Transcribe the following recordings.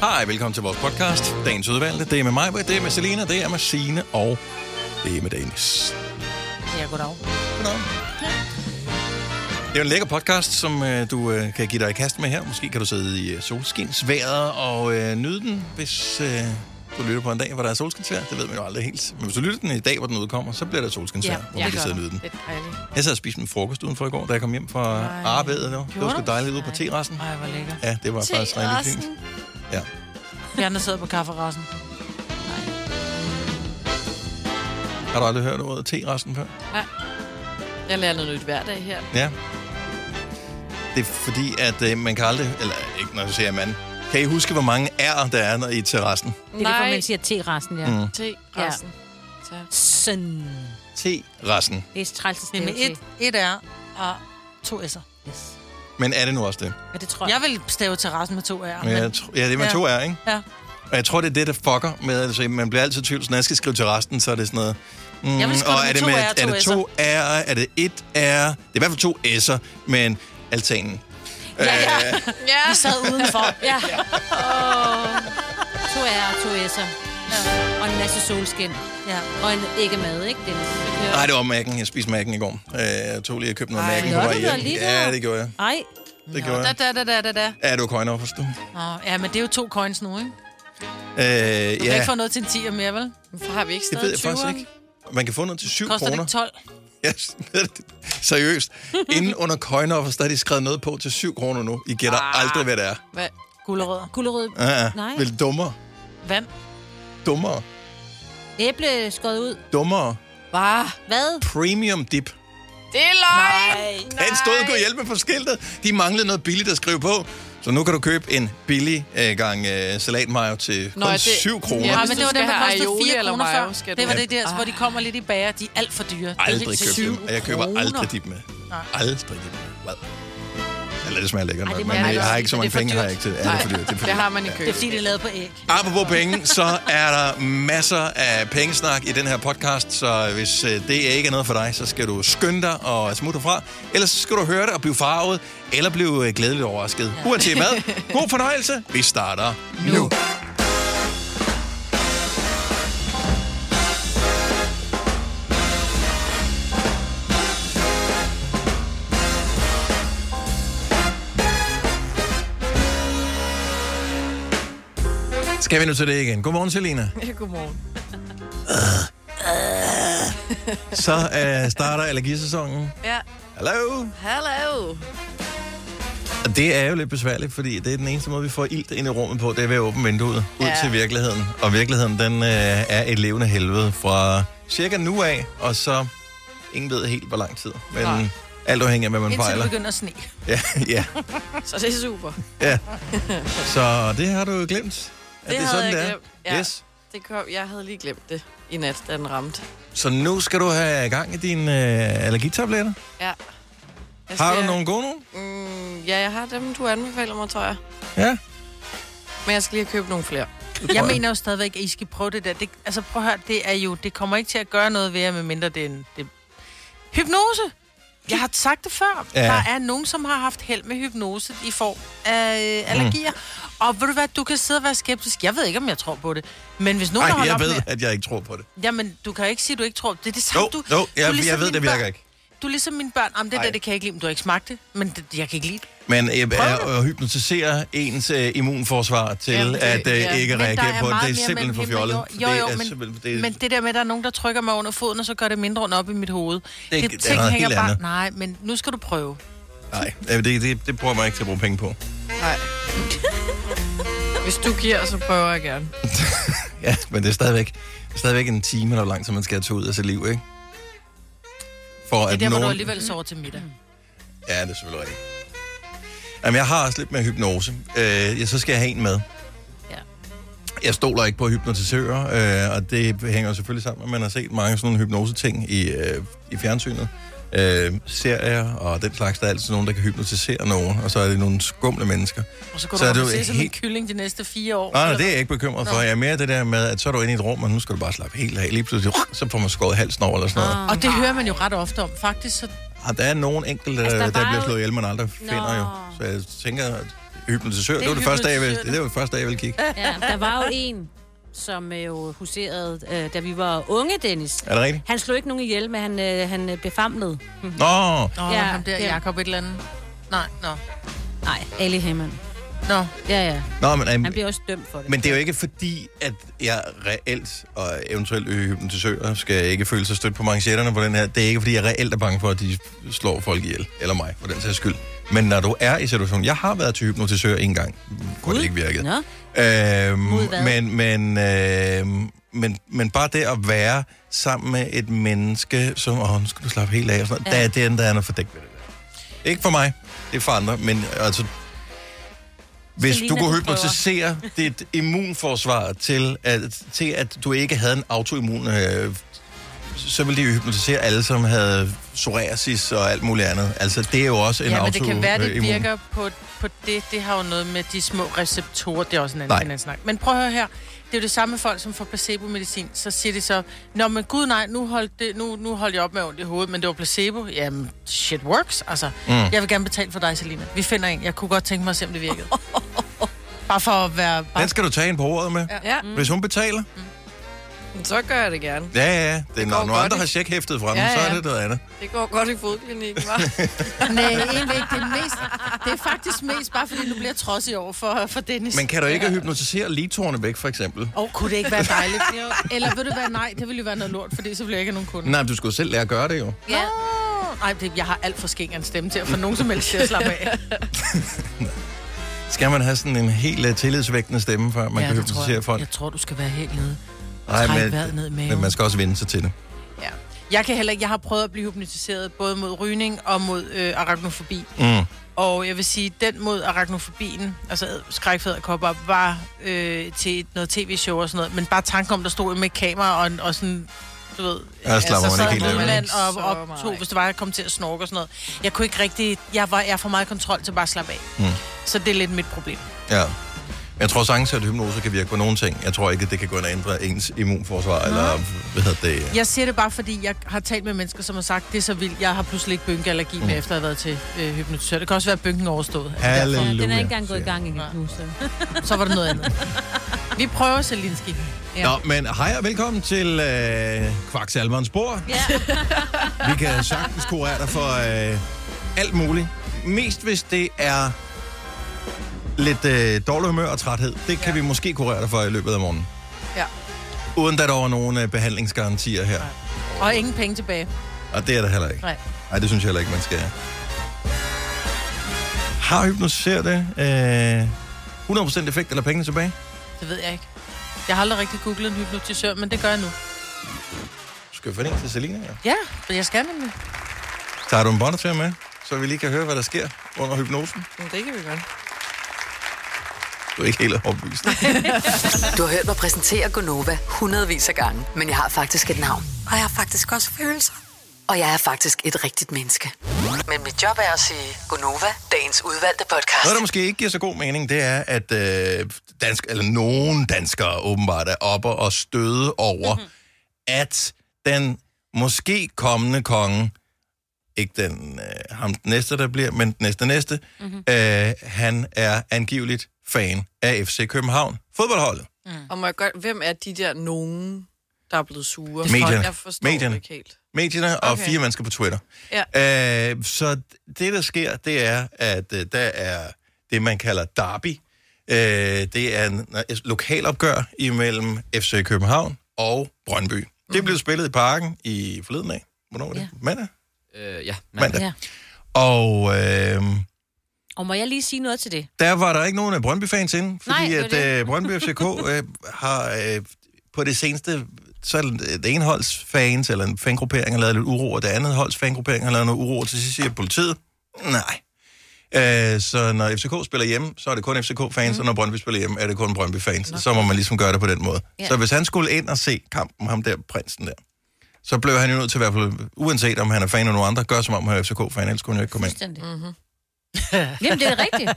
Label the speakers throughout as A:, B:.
A: Hej, velkommen til vores podcast, Dagens Udvalgte. Det er med mig, det er med Selina, det er med Signe, og det er med Dennis.
B: Ja, goddag.
A: Goddag. Det er jo en lækker podcast, som øh, du øh, kan give dig i kast med her. Måske kan du sidde i øh, solskinsværet og øh, nyde den, hvis øh, du lytter på en dag, hvor der er solskinsvejr. Det ved man jo aldrig helt. Men hvis du lytter den i dag, hvor den udkommer, så bliver der solskinsvejr, ja, hvor man kan sidde og nyde den.
B: Det er dejligt.
A: Jeg sad og spiste min frokost udenfor i går, da jeg kom hjem fra arbejdet. Det var, det var sgu
B: du?
A: dejligt ude på terrassen.
B: Ej, hvor lækkert.
A: Ja, det var faktisk rigtig fint. Ja.
B: Vi andre sidder på kafferassen.
A: Har du aldrig hørt ordet terrassen før?
C: Jeg lærer noget nyt hver dag her.
A: Ja. Det er fordi, at øh, man kan aldrig... Eller ikke, når du siger man. Kan I huske, hvor mange R'er der er når i terrassen?
B: Det er Nej. derfor, man siger T-resten, ja. Mm.
C: Te, resten. Ja.
B: Søn.
A: Terrassen.
B: Det er træls at
D: Det
B: stave
D: er med et,
B: til.
D: et R og to S'er.
B: Yes.
A: Men er det nu også det?
B: Ja, det tror jeg.
D: Jeg vil stave terrassen med to R'er. Men
A: Men jeg tr- ja, det er med
D: Ja.
A: to R'er, ikke?
D: Ja.
A: Og jeg tror, det er det, der fucker med... Altså, man bliver altid i tvivl, så når jeg skal skrive terrassen, så er det sådan noget... Mm,
D: Jeg vil skrive
A: er
D: det
A: det
D: med to R'er og to
A: er det to R'er? Er det et R? Det er i hvert fald to S'er, men altanen. Ja, ja. Øh,
C: ja.
D: vi sad udenfor.
B: Ja. Åh. To R'er og to S'er. Og en masse solskin.
D: ja.
B: Og en ikke mad, ikke? Dennis?
A: nej, Øh, det var Mac'en. Jeg spiste Mac'en i går. Øh, jeg tog lige og købte noget
D: Ej,
A: Mac'en
B: nå,
A: på vej
B: du var
A: hjem.
B: lige
A: Ja,
B: der.
A: det gjorde jeg.
B: Ej.
A: Det gjorde
D: Da,
A: jeg.
D: da, da, da, da, da.
A: Er du coin forstå? Øh,
D: Nå, ja, men det er jo to coins nu, ikke? Du kan
A: ja.
D: ikke få noget til en 10'er mere, vel?
C: Hvorfor har vi ikke
A: Det
C: stadig
A: ved jeg faktisk
C: 20'eren?
A: ikke. Man kan få noget til 7
D: Koster det
A: kroner.
D: ikke 12?
A: Ja, seriøst. Inden under coin der har de skrevet noget på til 7 kroner nu. I gætter ah. aldrig, hvad det er.
C: Hvad?
D: Gulerødder.
B: Gulerød.
A: Ja,
B: Nej.
A: ja. Vel dummere.
D: Vand.
A: Dummere.
B: Æble skåret ud.
A: Dummere.
C: Hvad?
B: Hvad?
A: Premium dip.
C: Det er løgn!
A: Den stod kunne hjælpe på skiltet. De manglede noget billigt at skrive på. Så nu kan du købe en billig øh, gang øh, salatmayo til kun
C: Nå, det-
A: 7 kroner.
C: Ja,
D: Ja,
C: hvis
D: men
C: du
D: det var
C: skal
D: den, der
C: have
D: kostede
C: aioli
D: 4
C: eller
D: kroner
C: mayo,
D: før.
C: skal
D: Det var
C: du-
D: det der, hvor de kommer lidt i bager. De er alt for dyre. Det er
A: aldrig
D: helt
A: købt
D: sygt.
A: dem. Og jeg køber
B: kroner.
A: aldrig dip med.
D: Nej.
A: Aldrig dip med. Hvad? Eller det smager lækkert
B: Ej,
A: nok,
B: det
A: men
B: må man
A: jeg,
B: ikke
A: jeg har
B: sige,
A: ikke så
B: for
A: mange
B: det er for
A: penge, har jeg ikke til. Ja, det er for dyrt. er for
C: Det
A: dyrt.
C: har man i
D: Det er
C: køkken.
D: fordi, det er lavet på æg.
A: Apropos penge, så er der masser af pengesnak i den her podcast, så hvis øh, det ikke er noget for dig, så skal du skynde dig og smutte fra. Ellers så skal du høre det og blive farvet, eller blive øh, glædeligt overrasket. Uanset hvad, god fornøjelse. Vi starter nu. nu. Skal vi nu til det igen? Godmorgen, Selina.
C: Godmorgen.
A: Så øh, starter allergisæsonen.
C: Ja.
A: Hallo.
C: Hello.
A: Og det er jo lidt besværligt, fordi det er den eneste måde, vi får ilt ind i rummet på, det er ved at åbne vinduet ud
C: Ja.
A: til virkeligheden. Og virkeligheden, den øh, er et levende helvede fra cirka nu af, og så ingen ved helt, hvor lang tid. Men
C: Nej.
A: alt afhængig af, hvad man
D: Indtil det
A: fejler.
D: begynder at sne.
A: Ja, ja,
C: Så det er super.
A: ja. Så det har du jo glemt. at
C: Det
A: er
C: havde
A: sådan,
C: jeg
A: det er.
C: glemt, ja.
A: Yes.
C: Det kom, jeg havde lige glemt det i nat, da den ramte.
A: Så nu skal du have gang i dine øh, allergitabletter.
C: Ja. Jeg
A: Har du
C: skal-
A: nogle gode nogen?
C: Mm, ja, jeg har dem, du anbefaler mig, tror jeg.
A: Ja.
C: Men jeg skal lige købe nogle flere.
D: Jeg mener jo stadigvæk, at I skal prøve det der. Det, altså prøv at høre, det er jo, det kommer ikke til at gøre noget ved jer, medmindre det er en... Det... Hypnose! Jeg har sagt det før.
A: Ja.
D: Ja. Der er nogen, som har haft held med hypnose i form af øh, allergier. Mm. Og ved du hvad, du kan sidde og være skeptisk. Jeg ved ikke, om jeg tror på det. Men hvis nogen
A: Nej,
D: har holdt
A: jeg
D: op
A: ved,
D: med...
A: at jeg ikke tror på det.
D: Jamen, du kan jo ikke sige, at du ikke tror. Det er det samme,
A: Jo,
D: du...
A: jo,
D: du er ligesom
A: jeg, jeg ved,
D: mine
A: det virker
D: børn.
A: ikke.
D: Du er ligesom mine børn. Jamen, det
A: Ej.
D: der, det kan jeg ikke lide, men du har ikke smagt det. Men det, jeg kan ikke lide det.
A: Men øh, er, at hypnotisere ens øh, immunforsvar til
C: Jamen, det-
A: at øh,
C: ja.
A: ikke
D: Men der
A: reagere
D: er
A: på det.
D: meget
A: Det er
D: mere
A: simpelthen
D: mellem
A: for
D: himmel og
A: fjollet.
D: jord. Jo, jo,
A: det er
D: men-
A: simpelthen, det er,
D: Men det der med, at der er nogen, der trykker mig under foden, og så gør det mindre ondt op i mit hoved. Det,
A: ikke- det er noget helt andet.
D: Nej, men nu skal du prøve.
A: nej, øh, det, det, det bruger man ikke til at bruge penge på.
C: Nej. Hvis du giver, så prøver jeg gerne.
A: Ja, men det er stadigvæk, det er stadigvæk en time eller hvor langt, som man skal tage ud af sit liv, ikke? For
D: Det er
A: at
D: der, hvor du
A: nogen...
D: alligevel sover til middag.
A: Ja, det er selvfølgelig rigtigt. Jamen, jeg har også lidt med hypnose. Øh, ja, så skal jeg have en med.
D: Ja.
A: Jeg stoler ikke på hypnotisører, øh, og det hænger jo selvfølgelig sammen med, at man har set mange sådan nogle hypnose-ting i, øh, i fjernsynet. Øh, serier og den slags, der er altid nogen, der kan hypnotisere nogen, og så er det nogle skumle mennesker.
D: Og så går
A: Så
D: så
A: er
D: du
A: du
D: rundt og se som en
A: helt-
D: kylling de næste fire år.
A: Nej, nej, det er jeg ikke bekymret for. Jeg er mere det der med, at så er du inde i et rum, og nu skal du bare slappe helt af. Lige pludselig, så får man skåret halsen over eller sådan noget.
D: Og det hører man jo ret ofte om, faktisk. Så
A: Og Ah, der er nogen enkelte,
B: Altså,
A: altså,
B: der
A: der,
B: er
A: der
B: bare
A: bliver
B: jo-
A: slået ihjel, man aldrig
B: Nå.
A: finder jo. Så jeg tænker, at hypnotisør. Det var det første dag, jeg ville, det var det første dag, jeg ville kigge.
B: Ja, der var jo en, som øh, jo huserede, øh, da vi var unge, Dennis.
A: Er det rigtigt?
B: Han slog ikke nogen ihjel, men han, øh, han øh, befamlede.
A: Nå,
C: Nå,
B: Ja,
C: ja, ham der
B: det-
C: Jakob et eller andet. Nej, nå.
B: Nej, Ali Hammond.
C: Nå,
B: Ja, ja.
A: Nå men,
B: Han
A: øhm,
B: bliver også dømt for det.
A: men det er jo ikke fordi, at jeg reelt og eventuelt øh, hypnotisører skal ikke føle sig stødt på manchetterne på den her. Det er ikke fordi, jeg reelt er bange for, at de slår folk ihjel. Eller mig, for den sags skyld. Men når du er i situationen... Jeg har været til hypnotisør en gang. Kunne det ikke virkede.
B: Nå,
A: Øhm,
B: Mod hvad?
A: men, men, øhm, men, men bare det at være sammen med et menneske, som, åh, nu skal du slappe helt af, og sådan noget, ja. der er den, der er noget fordækt ved det der. Ikke for mig, det er for andre, men altså, hvis
B: Selina,
A: du kunne
B: du prøver.
A: hypnotisere dit immunforsvar til at, til, at du ikke havde en autoimmun, øh, så ville de jo hypnotisere alle, som havde psoriasis og alt muligt andet. Altså, det er jo også en
D: Ja, men det
A: autoimmun. Øh,
D: kan være, det virker på, på det. Det har jo noget med de små receptorer. Det er også en anden,
A: Nej.
D: en anden snak. Men prøv at høre her. Det er jo det samme med folk, som får placebo-medicin. Så siger de så, Nå, men gud nej, nu holdt, det, nu, nu holdt jeg op med ondt i hovedet, men det var placebo. Jamen, shit works. Altså, mm. jeg vil gerne betale for dig, Selina. Vi finder en. Jeg kunne godt tænke mig at se, om det virkede. bare for at være... Bare...
A: Den skal du tage en på ordet med.
C: ja.
D: Mm.
A: Hvis hun betaler,
C: Så gør jeg det gerne.
A: Ja, ja, ja. Det er, når
C: går
A: nogle
C: godt,
A: andre har
C: ikke?
A: checkhæftet frem, ja,
C: Ja,
A: ja. så er
C: ja.
A: det noget andet.
C: Det går godt i fodklinikken, hva'?
D: Nej, egentlig ikke. Det er, mest, det er faktisk mest bare, fordi nu bliver jeg trodsig over for, for Dennis.
A: Men kan du ikke hypnotisere litorne væk, for eksempel?
D: Åh, oh, kunne det ikke være dejligt? Eller vil du være nej? Det ville jo være noget lort, fordi så ville jeg ikke have nogen kunder.
A: Nej, men du skulle selv lære at gøre det jo.
B: ja.
D: Nej, det, jeg har alt for skæng en stemme til at få nogen som helst til at slappe af.
A: Skal man have sådan en helt uh, tillidsvægtende stemme, før man ja, kan
D: tror jeg.
A: hypnotisere folk?
D: Jeg tror, du skal være helt nede.
A: Nej,
D: træk vejret ned i maven.
A: men man skal også vende sig til det.
D: Ja. Jeg kan heller ikke, jeg har prøvet at blive hypnotiseret både mod rygning og mod øh, arachnofobi.
A: Mm.
D: Og jeg vil sige, den mod arachnofobien, altså skrækfæderkopper, var øh, til et- noget tv-show og sådan noget. Men bare tanken om, der stod med et kamera og, en- og sådan, du ved... altså,
A: Ja, slapper man
D: sad
A: ikke helt af,
D: Nordmand
C: vel?
D: og,
C: Så
D: og
C: meget.
D: tog, hvis det var, jeg kom til at snorke og sådan noget. Jeg kunne ikke rigtig... Jeg, var, jeg har for meget kontrol til bare at slappe af.
A: Mm.
D: Så det er lidt mit problem.
A: Ja. Men jeg tror sagtens, at hypnose kan virke på nogle ting. Jeg tror ikke, at det kan gå ind og ændre ens immunforsvar, Nå. eller hvad hedder det? øh,
D: Jeg siger det bare, fordi jeg har talt med mennesker, som har sagt, det er så vildt, jeg har pludselig ikke bynkeallergi
A: Mm.
D: med, efter at have været til øh, hypnotisør. Det kan også være, at bynken er overstået. Altså,
B: ja.
A: Halleluja.
B: Den er ikke engang gået i
A: siger
B: gang endnu.
D: Nej.
B: nu, så.
D: Så var det noget andet. Vi prøver, Selinski.
A: jeg. Nå, men hej og velkommen til øh, Kvaksalmerens bord.
B: Ja.
A: Vi kan sagtens kurere dig for øh, alt muligt. Mest hvis det er lidt øh, dårlig humør og træthed. Det kan ja. vi måske kurere dig for i løbet af morgenen.
C: Ja.
A: Uden at der var nogen øh, behandlingsgarantier her. Nej.
D: Og ingen penge tilbage.
A: Og det er der heller ikke.
D: Nej.
A: Nej, det synes jeg heller ikke, man skal. Har hypnotiseret det øh, 100% effekt eller pengene tilbage?
D: Det ved jeg ikke. Jeg har aldrig rigtig googlet en hypnotisør, men det gør jeg nu.
A: Du skal finde en til Selina, ja.
D: Ja, men jeg skal nemlig.
A: Tager du en båndoptager med, så vi lige kan høre, hvad der sker under hypnosen?
C: Men det kan vi godt.
A: Du er ikke helt opvist.
E: Du har hørt mig præsentere Gonova hundredvis af gange, men jeg har faktisk et navn.
F: Og jeg har faktisk også følelser.
E: Og jeg er faktisk et rigtigt menneske. Men mit job er at sige Gonova, dagens udvalgte podcast.
A: Noget, der måske ikke giver så god mening, det er, at øh, dansk, eller nogen danskere åbenbart er oppe og støde over, mm-hmm. at den måske kommende konge, ikke den, øh, ham den næste, der bliver, men den næste næste, mm-hmm. øh, han er angiveligt fan af FC København, fodboldholdet.
D: Mm.
C: Og må jeg godt, hvem er de der nogen, der er blevet sure?
A: Medierne.
C: Folk, Jeg forstår
A: Medierne.
C: det ikke helt.
A: medierne og
C: Okay.
A: fire mennesker på Twitter. Ja. Øh, så det, der sker, det er, at øh, der er det, man kalder derby. Øh, det er en et lokalopgør imellem FC København og Brøndby. Mm. Det blev spillet i parken i forleden af. Hvornår var det? Ja. Mandag?
G: Øh, ja, mand.
A: Mandag. Ja.
B: Ja.
A: Og øh,
B: Og må jeg lige sige noget til det?
A: der var der ikke nogen af Brøndby-fans inde, fordi
B: Nej,
A: Nej,
B: det
A: at
B: var
A: øh, Brøndby FCK øh, har øh, på det seneste så er det ene holds fans, eller en fangruppering, har lavet lidt uro, og det andet holds fangruppering har lavet noget uro, og til sidst siger politiet, nej. Øh, så når FCK spiller hjemme, så er det kun
B: Mhm.
A: FCK-fans, mm. og når Brøndby spiller hjemme, er det kun Brøndby-fans. Så må man ligesom gøre det på den måde.
B: Ja.
A: Så hvis han skulle ind og se kampen, ham der prinsen der, så blev han jo nødt til i hvert fald, uanset om han er fan af nogen andre, gør som om han er FCK-fan, ellers kunne han jo ikke komme ind.
B: Fuldstændig.
C: Mhm.
B: Mm-hmm. Jamen, det er rigtigt.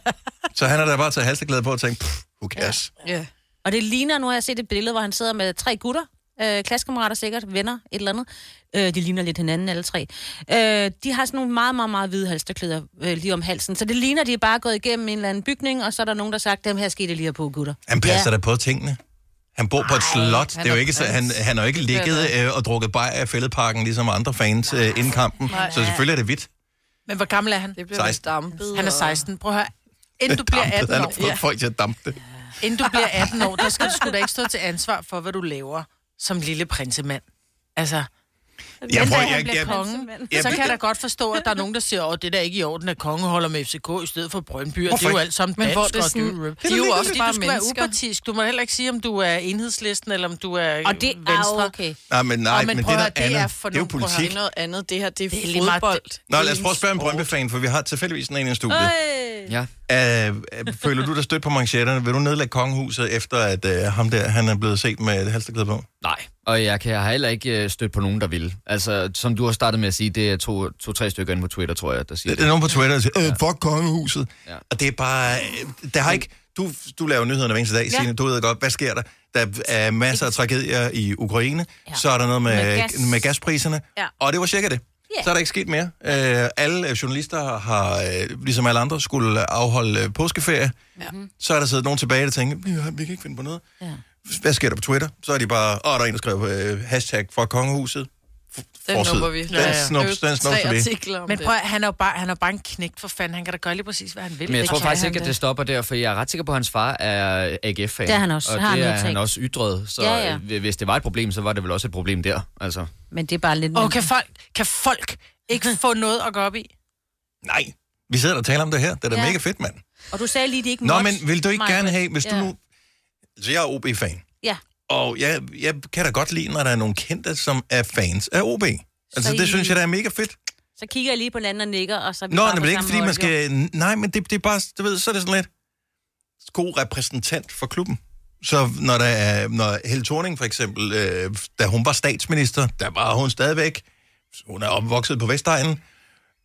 A: Så han har da bare taget halsteglæde på og tænkt, "Pff, who cares?
C: Ja.
B: Og det ligner, nu har jeg set et billede, hvor han sidder med tre gutter.
F: øh, klassekammerater sikkert, venner, et eller andet. Øh, de ligner lidt hinanden, alle tre. Øh, de har sådan nogle meget, meget, meget hvide halsterklæder øh, lige om halsen. Så det ligner, de er bare gået igennem en eller anden bygning, og så er der nogen, der har sagt, dem her skal det lige have på, gutter.
A: Han passer ja. da på tingene. Han bor på et slot.
C: han
A: Det er jo
C: er
A: ikke, så,
C: prins.
A: han, han har jo ikke ligget øh, og drukket bajer af fældeparken, ligesom andre fans øh, inden kampen. Så selvfølgelig er det hvidt.
D: Men hvor gammel er han?
C: Det bliver
A: 16.
C: vist dampet.
D: Han er 16. Prøv at høre. Inden du bliver 18
A: Han har
D: år,
A: fået folk til at dampe det.
D: inden du bliver 18 år, der skal du sgu da ikke stå til ansvar for, hvad du laver som lille prinsemand. Altså,
A: Jeg,
D: den
A: prøver,
D: dag han
A: jeg,
D: bliver
A: jeg,
D: konge,
A: jeg-
D: så kan jeg da godt forstå, at der er nogen, der siger, at det er da ikke i orden, at konge holder med FCK i stedet for Brøndby, og det er jo
A: ikke?
D: alt sammen
C: Men
D: dansk,
C: hvor det er
D: og
C: sådan-
D: jo-
C: det er jo også
D: fordi
C: bare
D: du skal være
C: mennesker.
D: upartisk. Du må heller ikke sige, om du er enhedslisten, eller om du er
F: Og det
D: venstre.
F: er jo okay.
A: nej, men, nej,
D: Nå, men
A: men,
D: prøv
A: det
D: at
A: er
D: høre,
A: noget
D: det er
A: andet.
D: for
A: Det er jo
D: nogle- prøv at høre,
C: Det
A: politik.
C: er noget andet. Det her, det er,
D: Det er
C: det
D: lige meget-
C: fodbold.
A: Nå, lad os prøve at spørge en Brøndby-fan, for vi har tilfældigvis sådan en i studiet.
F: Øh.
G: Ja.
A: Øh, øh, føler du dig stødt på manchetterne? Vil du nedlægge kongehuset, efter at øh, ham der, han er blevet set med et halsterklæde på?
G: Nej, og jeg kan jeg har heller ikke øh, stødt på nogen, der vil. Altså, som du har startet med at sige, det er to-tre to, tre stykker inde på Twitter, tror jeg, der siger
A: Der er
G: det.
A: nogen på Twitter, der siger, øh, fuck kongehuset. Ja.
G: Ja.
A: Og det er bare, øh, der har ikke, du, du laver nyhederne hver eneste dag, ja. Signe, du ved godt, hvad sker der? Der er masser af tragedier i Ukraine, ja.
F: Ja.
A: så er der noget med, med,
F: Med
A: gas.
F: gas.
A: med gaspriserne, ja.
F: Ja.
A: og det var cirka det.
F: Ja.
A: Så er der ikke sket mere. Øh, alle øh, journalister har, øh, ligesom alle andre, skulle afholde øh, påskeferie. Ja. Så er der siddet nogen tilbage, der tænker, "Vi har- vi kan ikke finde på noget. Ja. Hvad sker der på Twitter? Så er de bare, åh, oh, der er en, der skrev øh, hashtag fra kongehuset.
C: Den
A: Forside.
C: nupper vi.
A: Den
C: Ja, ja.
A: snups, den
C: Tre
A: snupser vi.
C: artikler om
D: Men
C: det.
D: prøv, at- han er jo bare, han er bare en knægt for fanden. Han kan da gøre lige præcis, hvad han vil.
G: Men jeg
D: Det
G: tror
D: kan
G: faktisk
D: han
G: ikke, at
D: da.
G: det stopper der, for jeg er ret sikker på, at hans far er AGF-fan.
F: Det er han også.
G: Og
F: Har
G: det
F: han
G: er
F: udtalt.
G: han også yydret, så
F: Ja, ja.
G: ja, ja. hvis det var et problem, så var det vel også et problem der. Altså,
F: Men det er bare lidt...
D: Og kan folk, kan folk ikke få noget at gå op i?
A: Nej, vi sidder og taler om det her. Det er da ja.
F: Ja.
A: mega fedt, mand.
F: og du sagde lige, det ikke
A: Nå,
F: måtte,
A: men vil du ikke
F: Maja.
A: gerne have, hvis ja. du
F: Ja.
A: nu... Så jeg er OB-fan.
F: Ja.
A: Og jeg, jeg kan da godt lide, når der er nogle kendte, som er fans af OB. Altså,
F: Så
A: det
F: I-
A: synes jeg, der er mega fedt.
F: Så kigger jeg lige på den anden og nikker, og så... er vi
A: Nå,
F: bare
A: det
F: på
A: er ikke,
F: samme
A: fordi man
F: hold, jo.
A: skal... Nej, men det, det er bare... Du ved, så er det sådan lidt... God repræsentant for klubben. Så når, der er, når Helle Thorning for eksempel, øh, da hun var statsminister, der var hun stadigvæk, hun er opvokset på Vestegnen,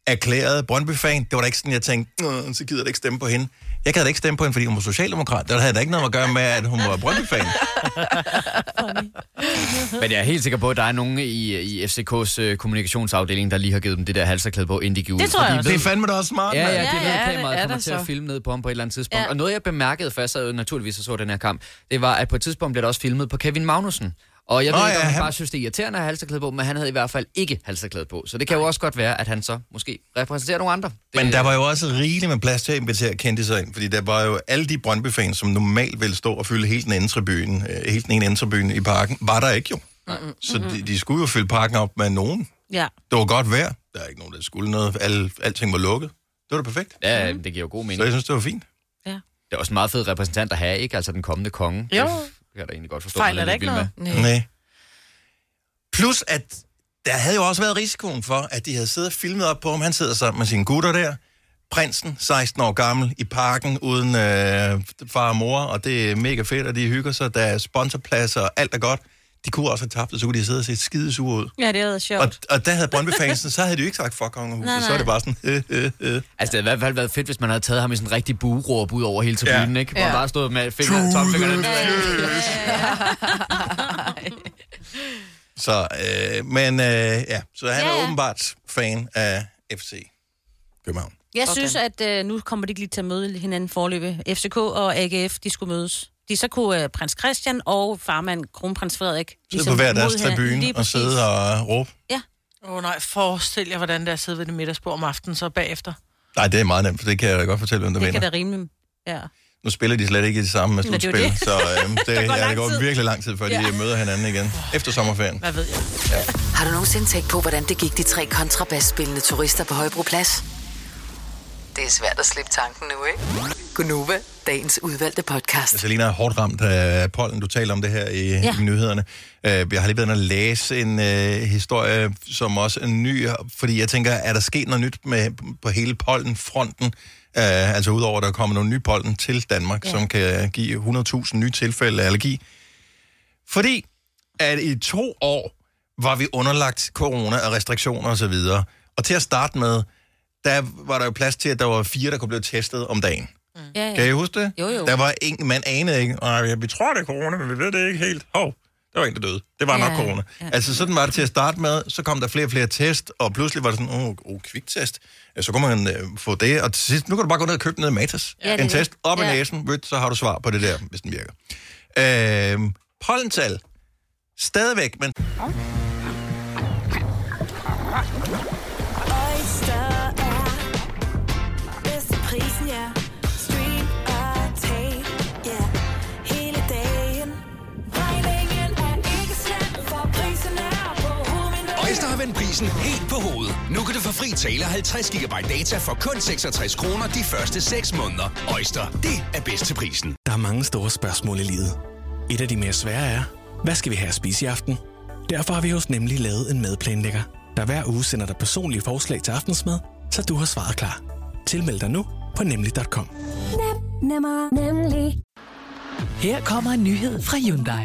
A: erklæret Brøndby-fan. Det var da ikke sådan, jeg tænkte, "Nå, så gider jeg da ikke stemme på hende. Jeg gad da ikke stemme på hende, fordi hun var socialdemokrat. Der havde da ikke noget at gøre med, at hun var Brøndby-fan.
G: men jeg er helt sikker på, at der er nogen i, i FCK's øh, kommunikationsafdeling, der lige har givet dem det der halserklæde på, inden de gik ud.
F: Det tror
G: Fordi
F: jeg også.
A: Det er fandme da også smart,
G: Ja,
A: mand.
G: ja, det
F: Ja,
G: ved
C: ja, det
G: kameraet
C: er
G: kommer
C: der
G: til at
C: så.
G: filme ned på ham på et eller andet tidspunkt.
F: Ja.
G: Og noget, jeg bemærkede, for jeg sad jo naturligvis og så den her kamp, det var, at på et tidspunkt blev der også filmet på Kevin Magnussen. Og jeg ved
A: Nå,
G: oh, ikke,
A: ja,
G: om han,
A: han-
G: bare synes, det er irriterende at have halsterklæde på, men han havde i hvert fald ikke halsterklæde på. Så det kan jo også godt være, at han så måske repræsenterer nogle andre. Det,
A: Men der var jo også rigeligt med plads til at invitere kendte sig ind, fordi der var jo alle de Brøndby-fans, som normalt ville stå og fylde hele den ene tribune, øh, hele den ene ende tribune i parken, var der ikke jo. Så
D: Mhm.
A: de, de skulle jo fylde parken op med nogen.
F: Ja.
A: Det var godt vejr. Der er ikke nogen, der skulle noget. Alle, alting var lukket. Det var da perfekt.
G: Ja, det giver jo god mening.
A: Så jeg synes, det var fint.
G: Det er også en meget fed repræsentant at have, ikke? Altså den kommende konge.
D: Jo.
G: Det kan jeg da egentlig godt forstå.
D: Fejler
G: man er
D: der
G: lidt
D: ikke
G: vild med.
A: Mm. Nej. Plus, at der havde jo også været risikoen for, at de havde siddet og filmet op på, om han sidder sammen med sine gutter der. Prinsen, 16 år gammel, i parken uden øh, far og mor, og det er mega fedt, og de hygger sig. Der er sponsorpladser, og alt er godt. De kunne også have tabt det, så kunne de sidde og se skide sure ud.
F: Ja, det havde været sjovt.
A: Og, og der havde Brøndby-fansen, så havde de jo ikke sagt fuck kongehuset,
F: Nej, nej.
A: så er det bare sådan, øh, øh, øh.
G: Altså, det havde i hvert fald været fedt, hvis man havde taget ham i sådan en rigtig bueråb ud over hele tribunen,
A: Ja.
G: ja. ikke? Hvor han
C: Ja.
G: bare stod med fingeren, tomfingeren.
A: Så, øh, men øh, ja, så han
F: Ja,
A: er
F: ja.
A: åbenbart fan af FC København.
F: Jeg synes, at øh, nu kommer de ikke lige til at møde hinanden forløbe. FCK og AGF, de skulle mødes. De så kunne øh, prins Christian og farmand kronprins Frederik...
A: Sidde på hver
F: mod
A: deres
F: hinanden. Lige
A: tribune og
F: præcis.
A: sidde og råbe.
D: Åh oh, nej, forestil jer, hvordan det er at sidde ved det middagsbord om aftenen, så bagefter.
A: Nej, det er meget nemt, for det kan jeg da godt fortælle, hvem der
F: Det kan
A: vinder.
F: da rimeligt. Ja.
A: Nu spiller de slet ikke i det samme
F: det er jo
A: slutspil,
F: det.
A: så øhm, det, der går, ja, det
F: lang
A: går
F: tid.
A: virkelig lang tid, før ja. de møder hinanden igen. Efter sommerferien.
D: Hvad ved jeg?
E: Har du nogensinde tænkt på, hvordan det gik de tre kontrabasspillende turister på Højbroplads? Det er svært at slippe tanken nu, ikke? Gunova, dagens udvalgte podcast.
A: Selina er hårdt ramt af pollen. Du taler om det her i, ja.
F: Ja.
A: i nyhederne. Øh, Jeg har lige været inde og læse en øh, historie, som også er ny, fordi jeg tænker, er der sket noget nyt med, på hele pollenfronten? Øh, altså udover, at der kommer nogle nye pollen til Danmark, ja. som kan give 100.000 nye tilfælde af allergi. Fordi at i to år var vi underlagt corona og restriktioner osv. Og, og til at starte med, der var der jo plads til, at der var fire, der kunne blive testet om dagen.
F: Ja,
A: Kan
F: ja.
A: I huske det?
F: Jo, jo.
A: Der var ingen, man anede ikke. Og vi tror, det er corona, men vi ved det ikke helt. Hov. Der var en, der døde. Det var nok
F: Ja,
A: corona.
F: ja.
A: Altså, sådan var det til at starte med. Så kom der flere og flere test, og pludselig var det sådan, åh, oh, kviktest. Ja, Så kunne man øh, få det, og til sidst, nu kan du bare gå ned og købe den nede i Matas.
F: Ja, det er
A: en
F: det.
A: test, op i
F: Ja.
A: næsen, ved, så har du svar på det der, hvis den virker. Øh, pollental. Stadigvæk, men
H: Oyster er bedst til prisen, ja. Stream og tag, ja. Hele dagen. Regningen er ikke slem, for prisen er på hovedet.
I: Øjster har vendt prisen helt på hovedet. Nu kan du få fri tale 50 GB data for kun 66 kroner de første 6 måneder. Øjster, det er bedst til prisen.
J: Der er mange store spørgsmål i livet. Et af de mere svære er, hvad skal vi have at spise i aften? Derfor har vi hos Nemlig lavet en madplanlægger, der hver uge sender dig personlige forslag til aftensmad, så du har svaret klar. Tilmeld dig nu på nemlig.com.
H: Nem, nemmer, nemlig.
K: Her kommer en nyhed fra Hyundai.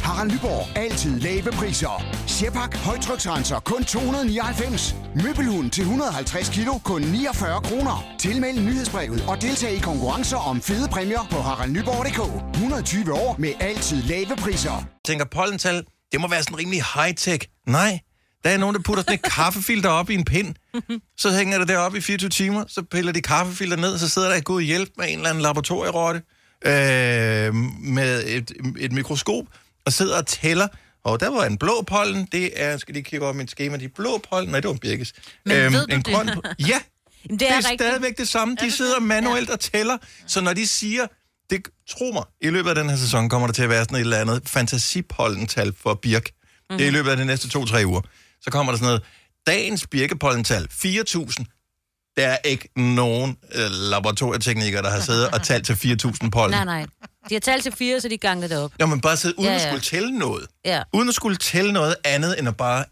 L: Harald Nyborg. Altid lave priser. Sjehpak. Højtryksrenser. Kun 299. Møbelhund til 150 kilo. Kun 49 kroner. Tilmeld nyhedsbrevet og deltag i konkurrencer om fede præmier på haraldnyborg.dk. 120 år med altid lave priser.
A: tænker pollental, det må være sådan rimelig high-tech. Nej, der er nogen, der putter sådan et kaffefilter op i en pind, så hænger det deroppe i 24 timer, så piller de kaffefilter ned, så sidder der et god hjælp med en eller anden laboratorierotte øh, med et, et mikroskop, og sidder og tæller, og der var en blå pollen, det er, skal lige kigge op i mit schema, de blå pollen, nej, det var en birkes. Øhm,
F: Men ved du
A: en
F: det?
A: grøn, po- ja,
F: Jamen,
A: det er, det er stadigvæk det samme. De sidder manuelt og tæller, så når de siger, det tro mig, i løbet af den her sæson kommer der til at være sådan et eller andet fantasipollental for birk. Mm-hmm. Det er i løbet af de næste to-tre uger. Så kommer der sådan noget, dagens birkepollental, 4.000. Der er ikke nogen øh, laboratorieteknikere, der har siddet og talt til 4.000 pollen.
F: Nej, nej. De har talt til fire, så de gangede det op.
A: Når man bare sidder uden
F: Ja,
A: ja, ja.
F: ja.
A: at skulle tælle noget.
F: Ja.
A: Uden at skulle tælle noget andet, end at bare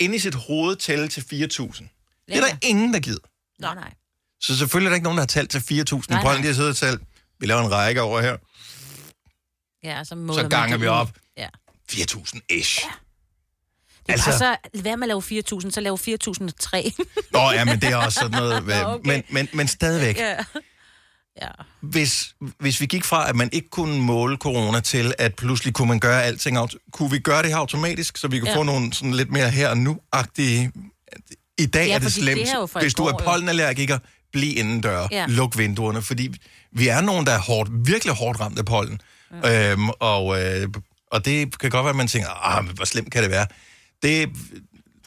A: ind i sit hoved tælle til 4.000. Det er der ingen, der gider.
F: Nej, nej.
A: Så selvfølgelig er der ikke nogen, der har talt til 4.000
F: Nej,
A: pollen.
F: nej.
A: De har siddet og talt, vi laver en række over her.
F: Ja, så, måler man
A: ganger
F: det
A: vi
F: ud.
A: op.
F: Ja.
A: 4.000-ish. Ja.
F: Det altså...
A: Altså-
F: bare så, lad være med at lave 4.000, så lave 4.003.
A: Nå, ja, men det er også sådan noget. Nå, okay.
F: okay.
A: men, men, men stadigvæk, ja.
F: ja.
A: hvis, hvis vi gik fra, at man ikke kunne måle corona, til at pludselig kunne man gøre alting, auto- kunne vi gøre det her automatisk, så vi kunne ja.
F: Ja.
A: få nogle sådan lidt mere her og nu-agtige... I dag
F: Ja,
A: ja, er det
F: fordi det
A: slemt,
F: er jo fra i
A: hvis du er
F: går, jo.
A: pollenallergiker, bliv indendør, ja.
F: Ja.
A: luk vinduerne, fordi vi er nogen, der er hårdt, virkelig hårdt ramt af pollen. Ja. Øhm, og, øh, og det kan godt være, at man tænker, "Ah, men hvor slemt kan det være? Det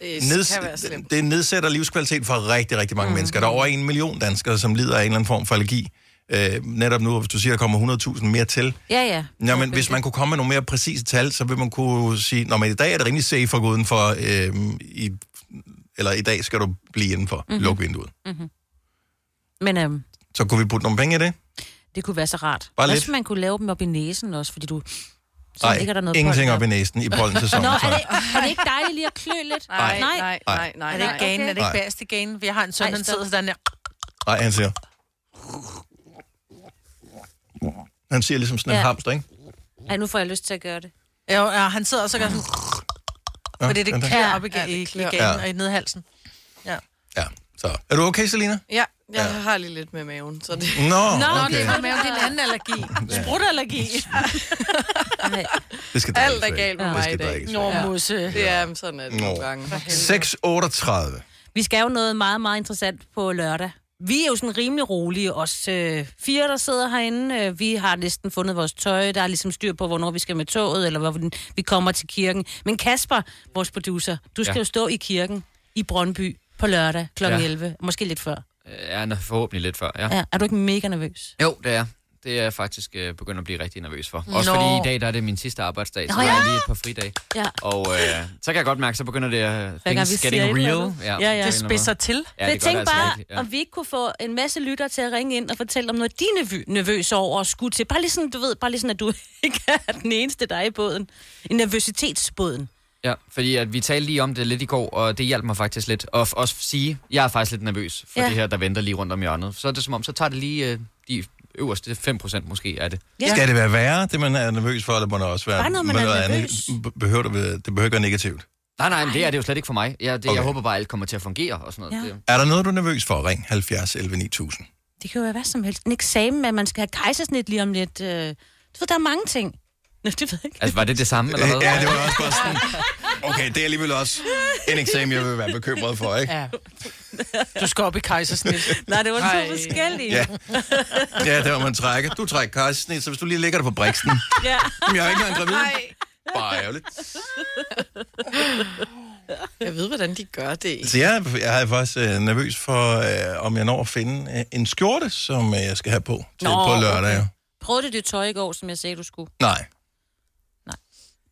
C: Det
A: Neds-
C: kan være slemt.
A: det nedsætter livskvalitet for rigtig, rigtig mange mm. mennesker. Der er over en million danskere, som lider af en eller anden form for allergi. Øh, netop nu, og hvis du siger, der kommer 100.000 mere til.
F: Ja, ja.
A: Nå, men hvis man kunne komme med nogle mere præcise tal, så vil man kunne sige, Nå, men i dag er det rimelig safe at gå udenfor, øh, i, eller i dag skal du blive indenfor. Mm-hmm. Luk vinduet.
F: Mhm. Men øhm,
A: Så kunne vi putte nogle penge i det?
F: det kunne være så rart.
A: Bare
F: Bare
A: lidt.
F: lidt. man kunne lave dem op i næsen også, fordi du... Så
A: Nej,
F: ligger der noget
A: ingenting
F: pollen
A: op i næsen i pollensæsonen.
F: Nå,
A: så.
F: er det, er det ikke dejligt lige at klø lidt?
C: Nej, nej, nej, nej, nej.
D: Er det ikke
C: nej.
D: ganen? Er det
A: Nej.
D: ikke bagerst i ganen? Vi har en søn,
F: Ej,
D: han sidder
F: stop.
D: sådan der.
A: Nej, han siger... Han siger ligesom sådan en
F: Ja.
A: hamster, ikke?
F: Ej, nu får jeg lyst til at gøre det.
D: Jo, ja, han sidder også og gør sådan.
A: Ja,
D: Fordi det
A: den der.
D: klør
F: Ja.
D: op i,
C: Ja,
D: ja,
C: det
D: i, i
C: klør.
D: ganen
A: Ja.
D: og i nedhalsen. Ja.
A: Ja, så... Er du okay, Selina?
C: Ja, jeg har lige lidt med maven, så det...
A: Nå,
D: Nå,
A: okay.
D: okay. det har med det er en anden allergi. Sprutallergi.
F: Nej.
A: Det skal
C: Alt er
A: drikkes af.
C: galt med
A: Det
C: mig
A: skal
C: i dag.
A: drikkes
D: Nå,
A: af.
F: øh,
D: musse.
C: Det er sådan at nogle gange.
A: 638.
F: Vi skal jo noget meget, meget interessant på lørdag. Vi er jo sådan rimelig rolige, os øh, fire, der sidder herinde. Øh, vi har næsten fundet vores tøj. Der er ligesom styr på, hvornår vi skal med toget, eller hvordan vi kommer til kirken. Men Kasper, vores producer, du skal
G: Ja.
F: ja. jo stå i kirken i Brøndby på lørdag kl.
G: Ja.
F: Ja. 11. Måske lidt før.
G: Øh, Ja, nå, forhåbentlig lidt før, ja.
F: Ja. Er du ikke mega nervøs?
G: Jo, det er. Det er jeg faktisk øh, begyndt at blive rigtig nervøs for. Også
F: Mm. Nå.
G: fordi i dag, der er det min sidste arbejdsdag, så
F: Nå,
G: jeg
F: ja.
G: har lige et par fridage.
F: Ja.
G: Og øh, så kan jeg godt mærke, så begynder det at...
F: Hver gang vi
G: things
F: siger
G: getting
F: et eller
G: real.
F: andet.
G: Ja,
F: Ja, ja.
G: på en
D: Det
G: eller anden
D: spidser
G: måde.
D: til.
G: Ja,
F: jeg
G: det gør det
F: tænkte
G: altså
F: bare,
G: rigtigt, ja.
F: om vi ikke kunne få en masse lytter til at ringe ind og fortælle om noget, de er nervø- nervøse over og skulle til. Bare lige sådan, du ved, bare lige sådan, at du ikke er den eneste, der er i båden. I nervøsitetsbåden.
G: Ja, fordi at vi talte lige om det lidt i går, og det hjalp mig faktisk lidt. Og f- også sige, jeg er faktisk lidt nervøs for
F: Ja.
G: ja. det her, der venter lige rundt om hjørnet. Så er det som om, så tager det lige øh, de øverste 5% måske af det.
A: Ja. Skal det være værre, det man er nervøs for, eller må det også være...
G: Bare noget, man
A: må
G: er
A: det være
G: nervøs.
A: neg- be- Behøver det, være- det behøver ikke være negativt.
G: Nej, nej, men det er det jo slet ikke for mig. Jeg, det, okay.
A: Okay.
G: jeg håber bare, at alt kommer til at fungere og sådan noget. Ja.
A: Er der noget, du er nervøs for? Ring 70 11 9000.
F: Det kan jo være hvad som helst. En eksamen, at man skal have kejsersnit lige om lidt. Øh, du ved, der er mange ting. Nå, det ved jeg ikke.
G: Altså, var det det samme, eller hvad?
A: Øh, Ja, det var også bare sådan... Okay, det er alligevel også en eksamen, jeg vil være bekymret for, ikke?
D: Ja. Du skal op i kejsersnit.
F: Nej, det var to forskellige.
A: Ja. Ja, der hvor man trækker. Du trækker kejsersnit, så hvis du lige lægger dig på briksen.
F: ja.
A: Jamen, jeg er ikke engang gravid. Bare ærgerligt.
C: Jeg ved, hvordan de gør det.
A: Så Altså, jeg, er- jeg er faktisk øh, nervøs for, øh, om jeg når at finde øh, en skjorte, som øh, jeg skal have på til
F: Nå,
A: Nå, på lørdag. Okay.
F: Prøvede du det tøj i går, som jeg sagde, du skulle?
A: Nej.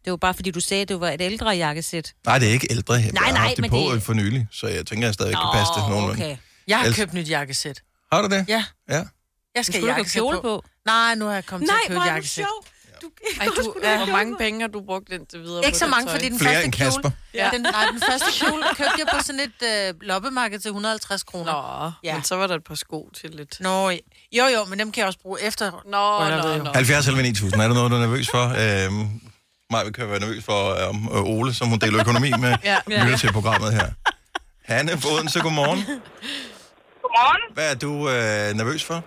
F: Det var bare, fordi du sagde, at det var et ældre jakkesæt.
A: Nej, det er ikke ældre. Jeg
F: Nej,
A: har
F: nej,
A: haft det
F: men
A: på
F: det-
A: øh, for nylig, så jeg tænker, at jeg stadig kan passe det nogenlunde.
F: okay.
D: Jeg har
A: Ellers-
D: købt nyt jakkesæt.
A: Har du det?
D: Ja.
A: Ja.
D: Jeg skal
C: Men skulle
D: have
C: du ikke have
D: jakkesæt
C: kjole
D: på. Nej, nu har jeg kommet
C: Nej,
D: til at købe
C: hvor er du
D: jakkesæt.
C: sjov. Ej, du, ja, hvor mange penge har du brugt indtil videre
D: Ikke
C: på
D: så
C: det
D: mange,
C: tøj?
D: fordi den
A: Flere
D: første
A: end
D: kjole...
A: Kasper.
D: Ja. Den, nej, den første kjole købte jeg på sådan et øh, loppemarked til 150 kroner. Nå,
C: ja. men så var der et par sko til lidt.
D: Nå, jo jo, men dem kan jeg også bruge efter. Nå,
C: nå,
D: nå.
A: 70 eller 9000, er der noget, du er nervøs for? Øhm, Maja, vi kan være nervøs for øh, om øh, Ole, som hun deler økonomi med,
D: Ja.
A: ja. lytter til programmet her. Hanne på Odense, godmorgen.
M: Godmorgen.
A: Hvad er du øh, nervøs for?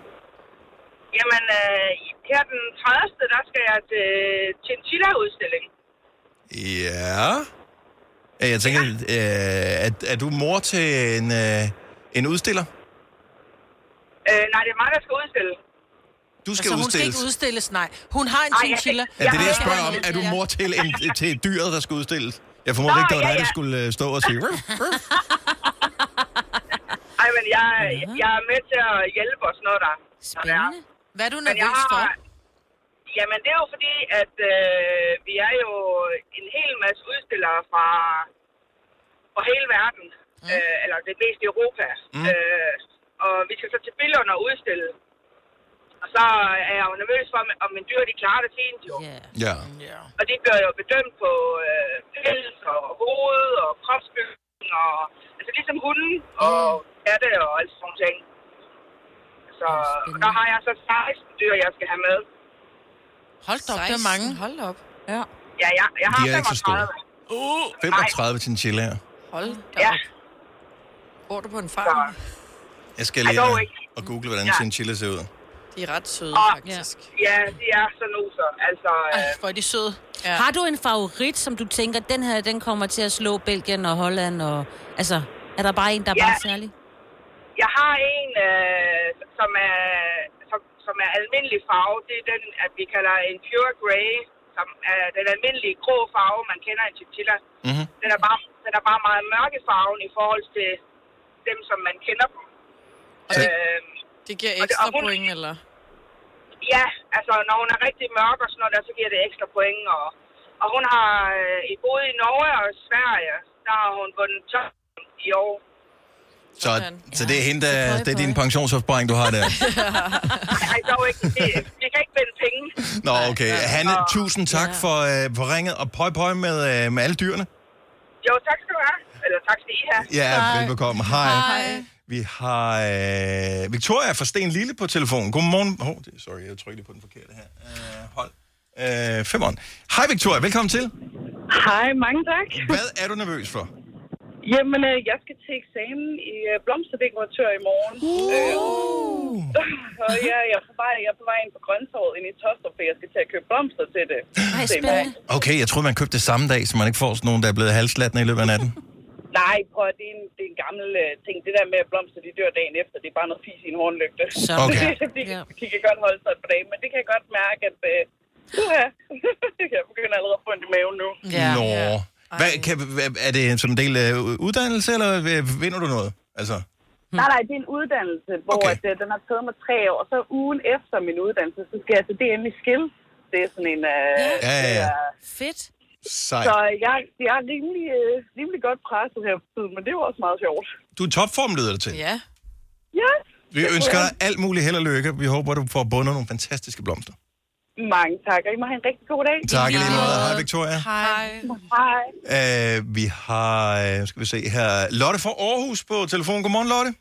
M: Jamen, øh, her den 30. der skal jeg til Chinchilla-udstilling.
A: Ja. Øh, Jeg tænker, øh, er, er du mor til en, øh, en udstiller?
M: Øh, nej, det er mig, der skal udstille.
A: Du skal
D: altså, hun skal
A: udstilles.
D: ikke udstilles, nej. Hun har en
M: Nej, jeg-
D: chinchilla.
A: Ja, det er det, jeg spørger om. Er du mor til, en, til dyret, der skal udstilles? Jeg formoder
M: Nå,
A: ikke, det var
M: ja,
A: dig, der
M: ja.
A: skulle øh, stå og sige... "Ruff, ruff."
M: Ej, men jeg, jeg er med til at hjælpe og sådan noget der. Spændende.
D: Hvad er du
M: nervøs
D: for?
M: Jamen, det er jo fordi, at øh, vi er jo en hel masse udstillere fra, fra hele verden. Mm. Øh, eller det meste i Europa. Mm. Øh, og vi skal så til Billund og udstille. Og så er jeg jo nervøs for, om- om min dyr, de klarer det fint jo. Yeah.
A: Ja.
M: Og det bliver jo bedømt på øh, pels og hoved og kropsbygning og... Altså ligesom hunden og katte og alt sådan nogle ting. Så og der har jeg så 16 dyr, jeg skal have med.
D: Hold da op, det er mange. Hold op.
M: Ja. Ja, jeg, jeg har
A: De er ikke så store.
M: 35. Uh,
A: 35 chinchillaer.
C: Hold da
M: Ja.
C: op. Bor du på en farm?
A: Jeg skal
C: Ej,
A: lige
C: dog
A: øh,
C: ikke.
A: og google, hvordan
C: Ja.
A: chinchilla ser ud.
C: De er ret søde,
M: Og,
C: faktisk.
M: Ah,
C: Ah,
M: ja, de er så noser. Altså, øh,
D: hvor er de søde.
F: Ja. Har du en favorit, som du tænker, den her, den kommer til at slå Belgien og Holland? Og, altså, er der bare en, der er
M: Ja.
F: bare særlig?
M: Jeg har en, øh, som, er, som, som er almindelig farve. Det er den, at vi kalder en pure grey, som er den almindelige grå farve, man kender i chinchilla.
A: Mm-hmm.
M: Den er bare, den er bare meget mørke farven i forhold til dem, som man kender dem. Øh,
C: Det giver
M: og det- og
C: ekstra
M: hun-
C: point, eller?
M: Ja, altså når hun er rigtig mørk og sådan noget, der, så giver det ekstra point. Og, og hun har øh, i både i Norge og Sverige, der har hun vundet 12 i år.
A: Så, så det er, hende, der, det er din pensionsopsparing, du har der.
M: Nej, dog ikke. Vi, vi kan ikke vinde penge.
A: Nå, okay. Hanne, tusind tak for, øh, for ringet, og pøj pøj med, øh, med alle dyrene.
M: Jo, tak skal du have. Eller tak skal I have.
A: Ja, velbekomme. Hej. Vi har øh, Victoria fra Sten Lille på telefonen. Godmorgen. Oh, det- sorry, jeg trykkede lige på den forkerte her. Øh, hold. Øh, femmeren. Hej Victoria, velkommen til.
N: Hej, mange tak.
A: Hvad er du nervøs for?
N: Jamen, øh, jeg skal til eksamen i øh, blomsterdekoratør i morgen. Uh. og ja, jeg er, på vej, jeg er på vej ind på grønttorvet ind i Tostrup, for jeg skal til at købe blomster til det. Nej, spændende.
A: Okay, jeg troede, man købte det samme dag, så man ikke får sådan nogen, der er blevet halslattende i løbet af natten.
N: Nej, prøv at det er en, det er en gammel øh, ting. Det der med, at blomster de dør dagen efter, det er bare noget fis i en hornlygte.
A: Sådan. Okay.
N: de, de kan godt holde sig et par dage, men det kan jeg godt mærke, at... Øh, uha, jeg begynder allerede at få ondt i maven nu.
A: Nå. Hvad, kan, hvad- er det sådan en del af uddannelse, eller øh, vinder du noget? Altså,
N: Nej, nej, det er en uddannelse, hvor okay. at, øh, den har taget mig tre år, og så ugen efter min uddannelse, så skal jeg til DM i Skill. Det er sådan en... Øh,
A: Ja, ja, ja.
F: Fedt.
A: sej.
N: Så jeg, jeg er rimelig, øh, rimelig godt presset her på tiden, men det var også meget sjovt.
A: Du er topform, lyder det til.
N: Ja. Ja.
A: Vi ønsker dig alt muligt held og lykke. Vi håber, du får bundet nogle fantastiske blomster.
N: Mange tak, og I må have en rigtig god dag.
A: Tak i lige måde. Hej, Victoria.
N: Hej. Hej.
A: Uh, vi har, øh, skal vi se her, Lotte fra Aarhus på telefon. Godmorgen, Lotte.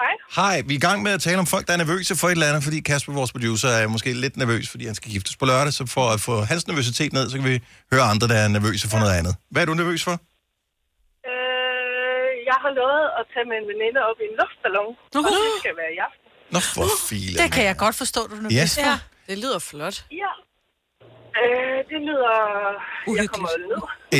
N: Hej.
A: Hej, vi er i gang med at tale om folk, der er nervøse for et eller andet, fordi Kasper, vores producer, er måske lidt nervøs, fordi han skal giftes på lørdag, så for at få hans nervøsitet ned, så kan vi høre andre, der er nervøse for noget andet. Hvad er du nervøs for?
N: Øh, jeg har lovet at tage med en veninde op i en luftballon, og det skal være i aften.
A: Nå, for filen.
D: Det kan jeg godt forstå, du er
A: Ja.
D: nervøs
A: Ja.
D: for.
C: Det lyder flot.
N: Ja. Øh, det lyder... Jeg kommer ned.
A: Ja,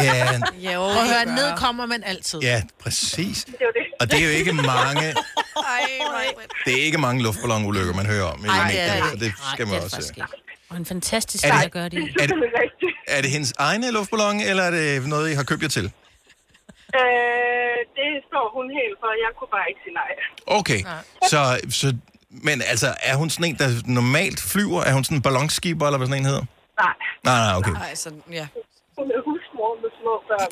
D: Ja, Prøv at høre, ned kommer man altid.
A: ja, præcis.
N: Det er jo det.
A: Og det er jo ikke mange,
D: Ej, nej.
A: det er ikke mange luftballonulykker, man hører om. i
F: Nej, det er
A: medierne,
F: det
A: så
F: ikke.
A: det skal man
F: det er
A: også...
F: faktisk ikke. Og en fantastisk
A: Er det-
F: sejr gør det.
A: Er det, er det hendes egne luftballon, eller er det noget, I har købt jer til?
N: Øh, det står hun helt for. Jeg kunne bare ikke sige nej.
A: Okay, så, så... Men altså, er hun sådan en, der normalt flyver? Er hun sådan en ballonskiber, eller hvad sådan en hedder?
N: Nej.
A: Nej, nej, okay.
C: Nej, så, ja.
N: Hun er husmor med små børn.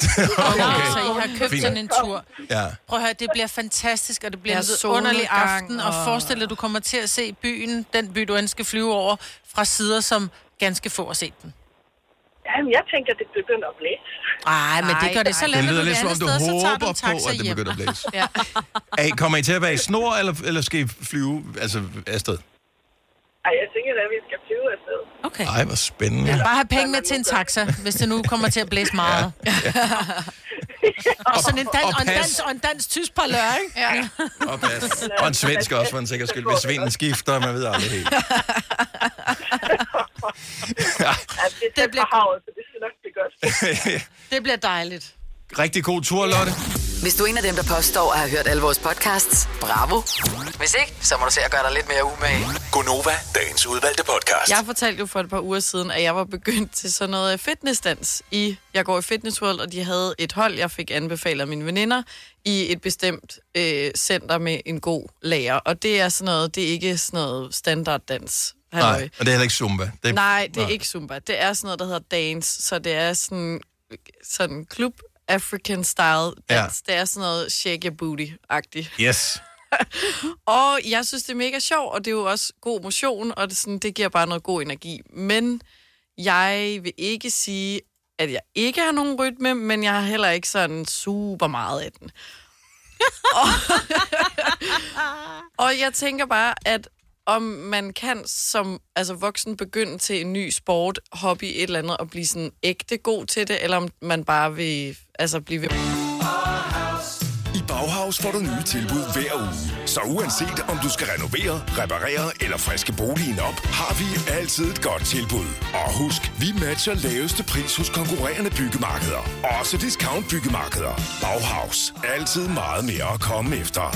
D: Okay. Så I har købt
A: Fint.
D: sådan en tur.
A: Ja.
D: Prøv at høre, det bliver fantastisk, og det bliver
C: Ja,
D: en underlig
C: solnedgang,
D: aften. Og
C: og-
D: forestil dig, at du kommer til at se byen, den by, du end skal flyve over, fra sider, som ganske få har set den.
N: Jamen, jeg tænker, det begynder at blæse.
D: Ej, men det gør det så
A: Det
D: let,
A: lyder
D: at du
A: lidt som
D: andet
A: om, du
D: sted, så tager du
A: håber
D: en
A: på,
D: taxa
A: at det
D: hjem.
A: begynder at blæse.
C: ja.
A: Er I, kommer I til at være i snor, eller, eller skal I flyve altså, afsted?
N: Ej, jeg tænker da, at vi skal flyve afsted.
D: Okay.
A: Ej, hvor spændende.
D: Ja. Bare have penge med til en taxa, hvis det nu kommer til at blæse meget. Ja. og sådan en, dan-
A: Og
D: og, en
A: pas.
D: dans, og en dansk tysk par lørdag. Ja.
A: Og, pas. og en svensk også, for en sikker skyld. Hvis vinden skifter, man ved aldrig helt.
N: Altså, det er tæt på havet, så det skal nok blive godt.
D: Det bliver dejligt.
A: Rigtig god tur, Lotte.
E: Hvis du er en af dem, der påstår at have hørt alle vores podcasts, bravo. Hvis ikke, så må du se at gøre dig lidt mere umage.
I: Gonova, dagens udvalgte podcast.
C: Jeg fortalte jo for et par uger siden, at jeg var begyndt til sådan noget fitnessdans i... Jeg går i Fitness World, og de havde et hold, jeg fik anbefalet af mine veninder, i et bestemt øh, center med en god lærer. Og det er sådan noget, det er ikke sådan noget standarddans. halløj.
A: Nej, og det er heller ikke Zumba.
C: Det... Nej, det er
A: Nå.
C: ikke Zumba. Det er sådan noget, der hedder dance, så det er sådan sådan klub African style dans. Ja. Det er sådan noget shake your booty-agtigt.
A: Yes.
C: Og jeg synes, det er mega sjovt, og det er jo også god motion, og det, er sådan, det giver bare noget god energi. Men jeg vil ikke sige, at jeg ikke har nogen rytme, men jeg har heller ikke sådan super meget af den. og, og jeg tænker bare, at om man kan som altså voksen begynde til en ny sport, hobby, et eller andet, og blive sådan ægte god til det, eller om man bare vil altså blive ved.
I: I Bauhaus får du nye tilbud hver uge. Så uanset om du skal renovere, reparere eller friske boligen op, har vi altid et godt tilbud. Og husk, vi matcher laveste pris hos konkurrerende byggemarkeder. Også discount byggemarkeder. Bauhaus. Altid meget mere at komme efter.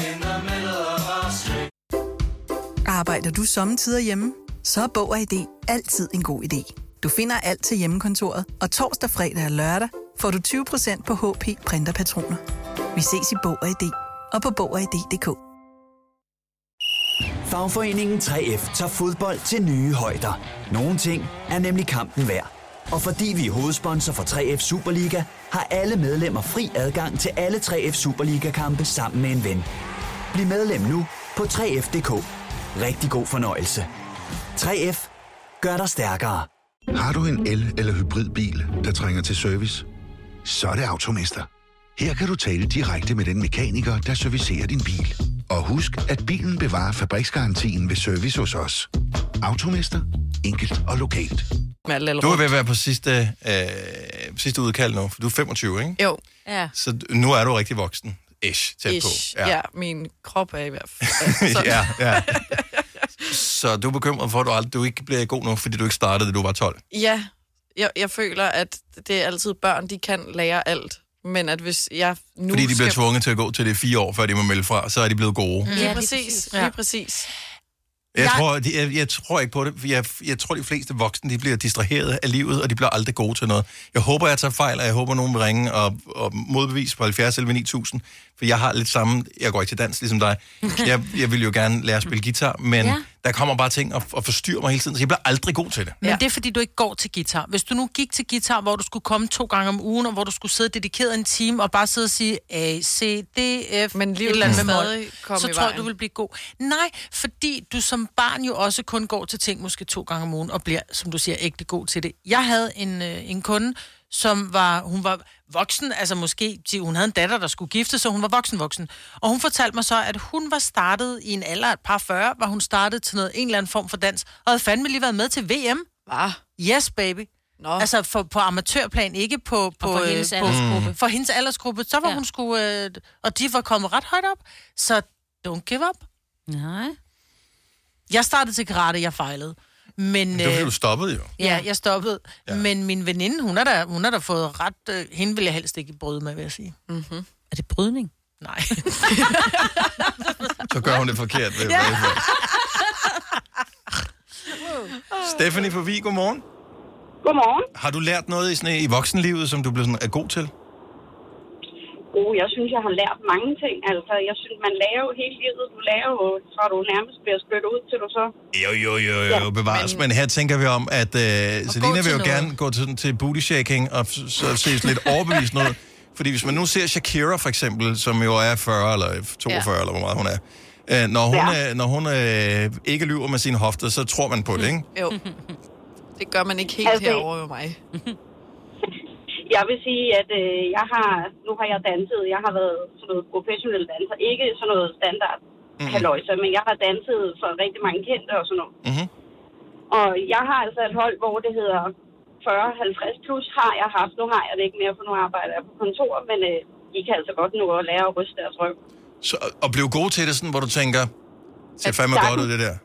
O: Arbejder du sommetider hjemme? Så er Bog og ID altid en god idé. Du finder alt til hjemmekontoret, og torsdag, fredag og lørdag får du 20% på HP Printerpatroner. Vi ses i Bog og ID og på Bog og ID.dk.
P: Fagforeningen 3F tager fodbold til nye højder. Nogle ting er nemlig kampen værd. Og fordi vi er hovedsponsor for 3F Superliga, har alle medlemmer fri adgang til alle 3F Superliga-kampe sammen med en ven. Bliv medlem nu på 3F.dk. Rigtig god fornøjelse. 3F gør dig stærkere.
Q: Har du en el- eller hybridbil, der trænger til service? Så er det Automester. Her kan du tale direkte med den mekaniker, der servicerer din bil. Og husk, at bilen bevarer fabriksgarantien ved service hos os. Automester. Enkelt og lokalt.
A: Du er ved at være på sidste, øh, sidste udkald nu, for du er 25, ikke?
C: Jo.
F: Ja.
A: Så d- nu er du rigtig voksen. Ish, tæt
C: Ish.
A: på.
C: Ja. ja, min krop er i hvert fald.
A: ja, ja. Så du er bekymret for, at du, aldrig, du ikke bliver god nok, fordi du ikke startede, da du var 12.
C: Ja, jeg, jeg føler, at det er altid børn, de kan lære alt. Men at hvis jeg nu
A: fordi de bliver
C: skal...
A: tvunget til at gå til det fire år, før de må melde fra, så er de blevet gode.
C: Mm.
A: Jeg,
C: Lige præcis, lige præcis.
A: jeg... Tror, de, jeg, jeg tror ikke på det. for Jeg, jeg tror, de fleste voksne de bliver distraheret af livet, og de bliver aldrig gode til noget. Jeg håber, jeg tager fejl, og jeg håber, nogen vil ringe og, og modbevise på 70 eller 9000, for jeg har lidt samme... Jeg går ikke til dans, ligesom dig. Jeg, jeg vil jo gerne lære at spille guitar, men ja.
F: Ja.
A: der Der kommer bare ting og, og forstyrrer mig hele tiden, så jeg bliver aldrig god til det.
D: Men ja. det er, fordi du ikke går til guitar. Hvis du nu gik til guitar, hvor du skulle komme to gange om ugen, og hvor du skulle sidde dedikeret en time og bare sidde og sige A, C, D, F, Men
C: livet kan stadig komme
D: så
C: i
D: tror jeg,
C: vejen.
D: du vil blive god. Nej, fordi du som barn jo også kun går til ting måske to gange om ugen, og bliver, som du siger, ægte god til det. Jeg havde en, øh, en kunde, som var, hun var voksen, altså måske, ti- hun havde en datter, der skulle gifte, så hun var voksen voksen. Og hun fortalte mig så, at hun var startet i en alder af et par 40, hvor hun startede til noget, en eller anden form for dans, og havde fandme lige været med til VM.
C: Hva?
D: Yes, baby. Nå. Altså for, på amatørplan, ikke på, på,
F: for hendes
D: øh,
F: aldersgruppe.
D: På, for hendes aldersgruppe. Så var ja. hun sgu, øh, og de var kommet ret højt op, så don't give up.
F: Nej.
D: Jeg startede til karate, jeg fejlede. Men,
A: Det var fordi,
D: øh,
A: du stoppede jo.
D: Ja, jeg stoppede. Ja. Men min veninde, hun har da, hun har da fået ret... Øh, hende vil jeg helst ikke bryde med, vil jeg sige. Mm-hmm.
F: Er det brydning?
D: Nej.
A: Så gør hun det forkert. Ved,
D: Ja.
A: ja. Stephanie på Vig, godmorgen.
R: Godmorgen.
A: Har du lært noget i, sådan, i voksenlivet, som du blev sådan, er god til?
R: Oh, jeg synes, jeg har lært mange ting. Altså, jeg synes, man lærer jo hele livet. Du lærer jo, fra du nærmest bliver spyttet ud, til du så...
A: Jo, jo, jo, jo, jo bevares. Men, men her tænker vi om, at øh, Selina vil
R: til
A: jo
R: noget.
A: gerne gå til, sådan til booty shaking og f- så ses lidt overbevisende ud. Fordi hvis man nu ser Shakira for eksempel, som jo er 40 eller 42
S: Ja.
A: ja. eller hvor meget hun er, øh, når hun,
C: Ja.
A: ja. øh, når hun øh, ikke lyver med sine hofter, så tror man på det, ikke?
C: Jo. Det gør man ikke helt
R: Altså-
C: altså, herovre med mig.
R: Jeg vil sige, at øh, jeg har... Nu har jeg danset. Jeg har været sådan noget professionel danser. Ikke sådan noget standard
A: Mhm.
R: mm. haløjse, men jeg har danset for rigtig mange kendte og sådan noget.
A: Mm-hmm.
R: Og jeg har altså et hold, hvor det hedder 40-50 plus har jeg haft. Nu har jeg det ikke mere, for nu arbejder jeg på kontor, men øh, de kan altså godt nå at lære at ryste deres ryg.
A: Så, og blive god til det, sådan, hvor du tænker, det ser
R: At
A: fandme
R: sagtens-
A: godt ud, det der.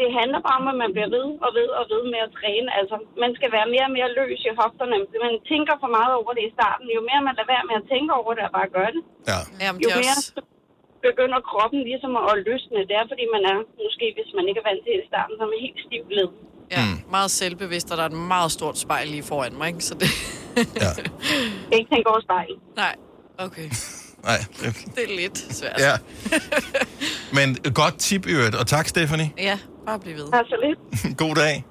R: det handler bare om, at man bliver ved og ved og ved med at træne. Altså, man skal være mere og mere løs i hofterne. Man tænker for meget over det i starten. Jo mere man lader være med at tænke over det og bare gøre det,
A: Ja.
C: Jamen,
R: jo
C: det er
R: mere
C: også...
R: begynder kroppen ligesom at løsne. Det er, fordi man er, måske hvis man ikke er vant til det i starten, så er man helt stiv led.
C: Ja,
A: Mm.
C: meget selvbevidst, og der er et meget stort spejl lige foran mig, ikke? Så det...
R: Ikke tænke over spejlet.
C: Nej, okay.
A: Nej, det-
C: Det er lidt svært.
A: ja. Men et godt tip i øvrigt, og tak, Stephanie.
C: Ja, bare bliv ved.
R: Tak så Altså lidt.
A: God dag.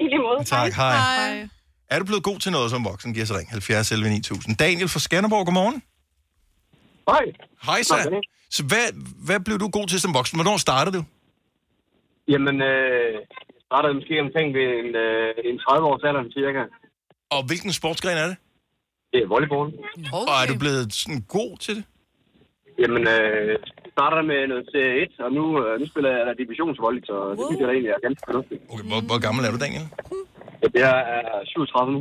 R: I lige måde.
A: Tak, hej.
C: Hej.
A: Er du blevet god til noget som voksen? Giv os et ring. 70 11 9000. Daniel fra Skanderborg, godmorgen.
T: Hej.
A: Hej så. Så hvad, hvad blev du god til som voksen? Hvornår startede du?
T: Jamen, øh, jeg startede måske omkring ved en, øh, en 30 års alder cirka.
A: Og hvilken sportsgren er det?
T: Det er volleyball.
C: Okay.
A: Og er du blevet sådan god til det?
T: Jamen, øh, jeg startede med noget serie 1, og nu, øh, nu spiller jeg da divisionsvolley, så det synes jeg da egentlig er ganske fornuftigt.
A: Okay, hvor, hvor gammel er du, Daniel?
T: Jeg er 37 nu.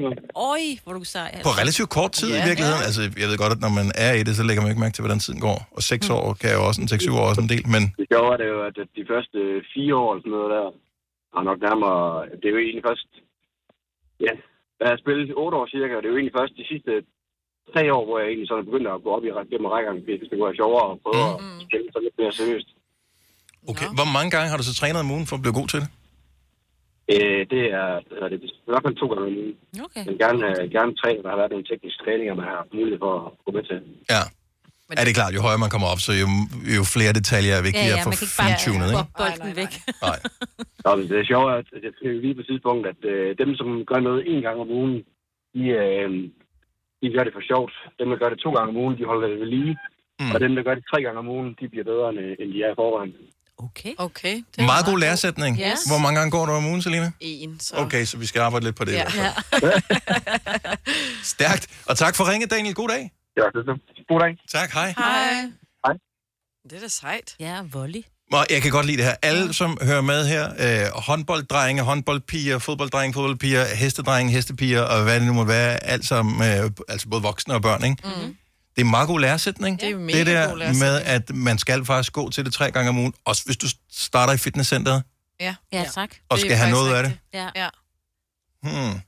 F: Oj, hvor du sej. altså.
A: På relativt kort tid ja, i virkeligheden. Ja. Altså, jeg ved godt, at når man er i det, så lægger man ikke mærke til, hvordan tiden går. Og 6 år kan jo også, en 6-7 år er også en del, men...
T: Det sjove er det jo, at de første fire år eller sådan noget der, har nok nærmere... Det er jo egentlig først... Ja, da jeg spillede 8 år cirka, og det er jo egentlig først de sidste tre år, hvor jeg egentlig sådan begyndte at gå op i gennem rækkerne, fordi det skulle være sjovere og prøve mm. at spille sådan lidt mere seriøst.
A: Okay, hvor mange gange har du så trænet om ugen for at blive god til det?
T: Øh, det er, eller det er i hvert fald to gange om ugen.
F: Okay.
T: Men gerne, øh, gerne tre, der har været nogle tekniske træninger, man har haft mulighed for at gå med til.
A: Ja. Men er det klart, jo højere man kommer op, så jo, jo flere detaljer er vigtige ja, ja, at få fintunet, ikke?
F: bob- bolden væk.
A: Nej.
T: Nå, men det er sjovt, at jeg skrev lige på et tidspunkt, at øh, dem, som gør noget en gang om ugen, de, øh, de gør det for sjovt. Dem, der gør det to gange om ugen, de holder det ved lige. Mm. Og dem, der gør det tre gange om ugen, de bliver bedre, end, øh, end de er i forvejen.
F: Okay.
C: Okay. Det er
A: Meget god læresætning.
C: Yes.
A: Hvor mange gange går du om ugen, Selina?
C: En, så...
A: Okay, så vi skal arbejde lidt på det.
C: Ja.
A: Ja.
C: ja.
A: Stærkt. Og tak for ringet, Daniel. God dag.
T: Ja, det er God dag.
A: Tak, hej.
C: Hej.
T: Hej.
C: Det er da sejt.
F: Ja, volley.
A: Og jeg kan godt lide det her. Alle, som hører med her, øh, håndbolddrenge, håndboldpiger, fodbolddrenge, fodboldpiger, hestedrenge, hestepiger, og hvad det nu må være, alt sammen, øh, altså både voksne og børn, ikke?
D: Mm-hmm.
C: Mm.
A: Det er en meget god læresætning.
C: Det er mega
A: det der
C: god læresætning.
A: med, at man skal faktisk gå til det tre gange om ugen, også hvis du starter i fitnesscenteret.
C: Ja.
F: Ja, tak.
A: Og
C: Det er
A: skal have
C: faktisk
A: noget af
C: rigtigt. Ja. ja.
A: Hmm.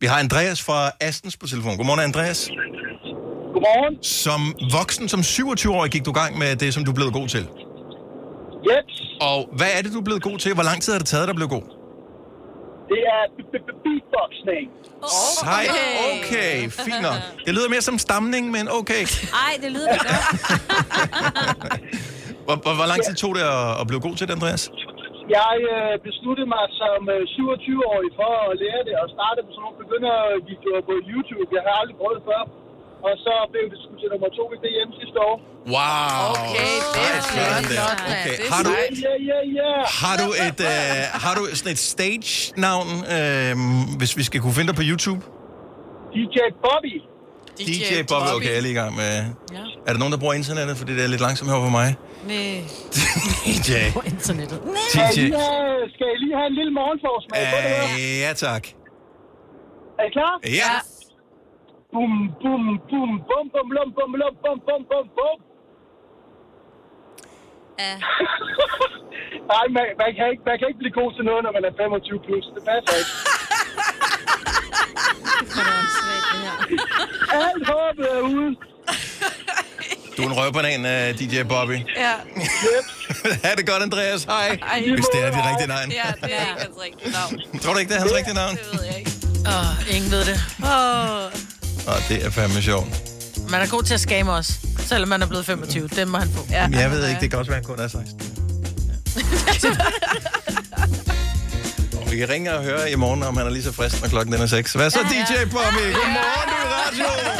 A: Vi har Andreas fra Astens på telefon. Godmorgen, Andreas.
U: Godmorgen.
A: Som voksen, som 27-årig, gik du i gang med det, som du blev god til?
U: Yep.
A: Og hvad er det, du er blevet god til? Hvor lang tid har det taget dig at blive god?
U: Det er b- b- b- beatboxing.
A: Sej. Okay, fint nok. Det lyder mere som stamning, men okay.
F: Ej, det lyder da godt.
A: Hvor, hvor, hvor lang tid tog det at, at blive god til det, Andreas?
U: Jeg øh, besluttede mig som øh, 27-årig for at lære det, og startede med sådan nogle begyndervideoer på YouTube. Jeg har aldrig prøvet før. Og så blev det sgu til nummer to i DM sidste år.
A: Wow. Okay, det er flot. Okay. Har du,
U: Ja, ja, ja.
A: har du et, øh, har du sådan et stage-navn, øh, hvis vi skal kunne finde dig på YouTube?
U: DJ Bobby.
A: DJ, Bobby. Okay, jeg er lige i gang med... Ja. Er der nogen, der bruger internettet? Fordi det er lidt langsomt her for mig.
C: Nej.
A: DJ.
F: På internettet.
U: Skal I
A: DJ.
U: lige have, skal I lige have en lille morgenforsmag? på det her?
A: Øh, ja, tak.
U: Er I klar?
A: Ja.
U: Bum, bum, bum, bum, bum, lum, bum, lum, bum, bum, bum, bum. Nej, man, man, kan ikke, man kan ikke blive god til noget, når man er 25 plus. Det passer ikke. Alt håbet er ude.
A: Du er en røvbanan, uh, DJ Bobby.
C: Ja.
A: ha' det godt, Andreas. Hej.
C: Ej.
A: Hvis det er dit rigtige navn.
C: Ja, det er ikke hans rigtige navn.
A: Tror du ikke, det er hans rigtige navn?
D: Åh, oh, ingen ved det. Oh.
A: Og det er fandme sjovt.
D: Man er god til at skamme os, selvom man er blevet 25. Dem må han få.
A: Ja, jeg ved ikke, det kan også være, at han kun er 16. Ja. Og vi kan ringe og høre i morgen, om han er lige så frisk, når klokken den er 6. Hvad så, DJ Bobby? Godmorgen, du i radioen.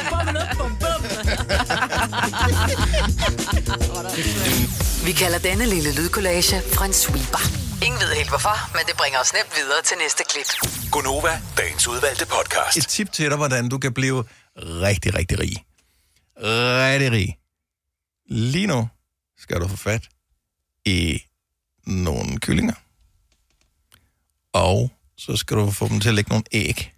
E: Vi kalder denne lille lydkollage en sweeper. Ingen ved helt hvorfor, men det bringer os nemt videre til næste klip.
I: Gonova, dagens udvalgte podcast.
A: Et tip til dig, hvordan du kan blive rigtig, rigtig rig. Rigtig rig. Lige nu skal du få fat i nogle kyllinger. Og så skal du få dem til at lægge nogle æg.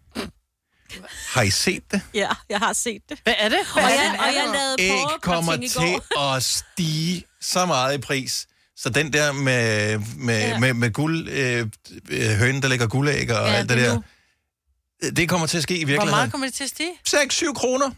A: Har I set det?
F: Ja, jeg har set det. Hvad er det? Hvad og, jeg, og jeg lavede
A: Æg kommer
F: porreparting i går.
A: til at stige så meget i pris. Så den der med, med, ja. med, med guld, øh, øh, hønen, der lægger guldæg og ja, alt det,
D: det er
A: der, det kommer til at ske i
D: Hvor
A: virkeligheden.
D: meget kommer det til at stige?
A: 6-7 kroner.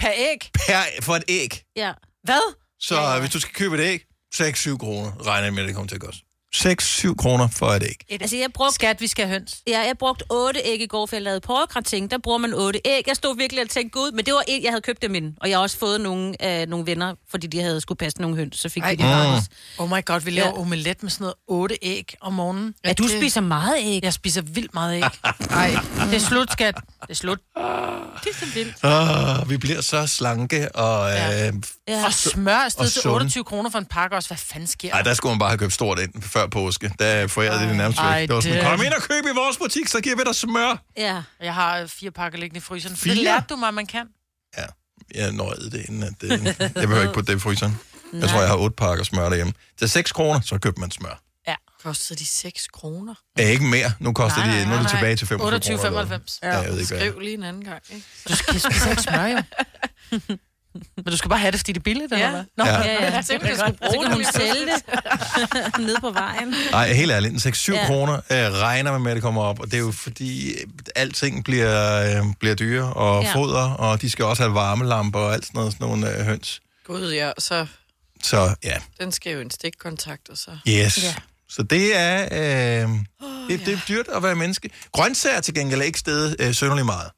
D: Per æg?
A: per, for et æg.
F: Ja.
D: Hvad?
A: Så ja, ja. hvis du skal købe et æg, 6-7 kroner, regner jeg med, at det kommer til at koste. 6-7 kroner for et æg.
F: Et, altså, jeg brugte,
D: Skat, vi skal have høns.
F: Ja, jeg brugte otte æg i går, for jeg lavede porregratin. Der bruger man otte æg. Jeg stod virkelig og tænkte, gud, men det var æg, jeg havde købt dem ind. Og jeg har også fået nogle, øh, nogle venner, fordi de havde skulle passe nogle høns, så fik Ej, de det gratis.
A: Ah.
D: Oh my god, vi laver
F: Ja.
D: ja. omelet med sådan noget otte æg om morgenen.
F: Ja, du spiser meget æg.
D: Jeg spiser vildt meget æg. Nej, det er slut, skat. Det er slut. Det er så vildt.
A: Oh, vi bliver så slanke, og... Ja. Øh,
D: Ja. Og smør er stedet
A: og
D: til
A: sunde.
D: 28 kroner for en pakke også. Hvad fanden sker
A: Ej, der skulle man bare have købt stort ind før påske. Der forærede de det nærmest
D: Ej,
A: væk. Det var sådan,
D: det-
A: kom ind og køb i vores butik, så giver vi dig smør.
F: Ja.
D: Jeg har øh, fire pakker liggende i fryseren. Fire? Det
A: Fire?
D: lærte du mig, man kan.
A: Jeg nøjede det inden, at det, jeg behøver ikke putte det i fryseren. Jeg tror, jeg har otte pakker smør derhjemme. Til 6 kroner, så køber man smør.
D: Ja.
C: Kostede de 6 kroner?
A: Ja, ikke mere. Nu koster
C: Nej,
A: de, nu er det
C: nej,
A: tilbage
C: nej.
A: til 25 kroner. eller hvad.
D: 28,95.
A: Ja, jeg ved ikke, hvad.
C: Skriv lige en anden gang, ikke?
D: Du skal spise ikke smør, jo. Men du skal bare have det, fordi det er billigt, eller
C: Ja.
D: hvad?
A: Ja.
F: Ja, ja.
C: Jeg tænkte, jeg skulle bruge
F: så kan hun
C: det.
F: sælge det nede på vejen.
A: Nej, helt ærligt, 6-7
F: Ja.
A: ja. kroner øh, regner man med, at det kommer op, og det er jo fordi, øh, alting bliver, øh, bliver dyre, og
C: Ja.
A: ja. foder, og de skal også have varmelamper og alt sådan noget, sådan nogle øh, høns.
C: Gud, ja, så
A: Så ja,
C: den skal jo en stikkontakt, og så...
A: yes. Ja. Så det er, øh, det, det er dyrt at være menneske. Grøntsager til gengæld er ikke stedet øh, sønderlig meget.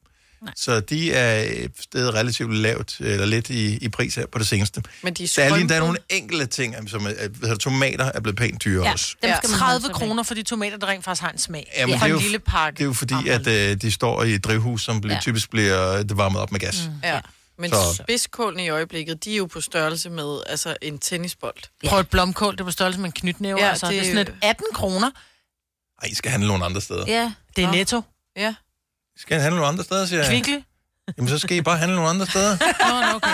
A: Nej. Så de er øh, stedet relativt lavt, eller lidt i, i pris her på det seneste.
C: Men de er
A: der, er lige, der er
C: skrympede.
A: nogle enkelte ting, som er, øh, hvad hedder det, tomater er blevet pænt dyre
D: Ja,
A: også.
D: dem skal man 30 kroner for de tomater, der rent faktisk har en smag.
A: Ja, men
D: for
A: det, er
D: en
A: jo,
D: lille pakke.
A: det er jo fordi, at øh, de står i et drivhus, som bliver,
D: Ja.
A: ja. typisk bliver øh, det varmet op med gas. Mm.
C: Ja. Men
A: Så-
C: spidskålene i øjeblikket, de er jo på størrelse med altså en tennisbold.
D: Prøv et blomkål, det er på størrelse med en knytnæve. Ja,
C: Ja,
D: altså, det,
C: det
D: er
C: er
D: sådan
C: jo-
D: et 18 kroner.
A: Ej, I skal handle nogle andre steder. Ja.
D: Det er netto.
C: Ja.
A: I skal handle nogle andre steder, siger jeg.
D: Kvickly.
A: Jamen, så skal I bare handle nogle andre steder.
D: Nå, nå, okay.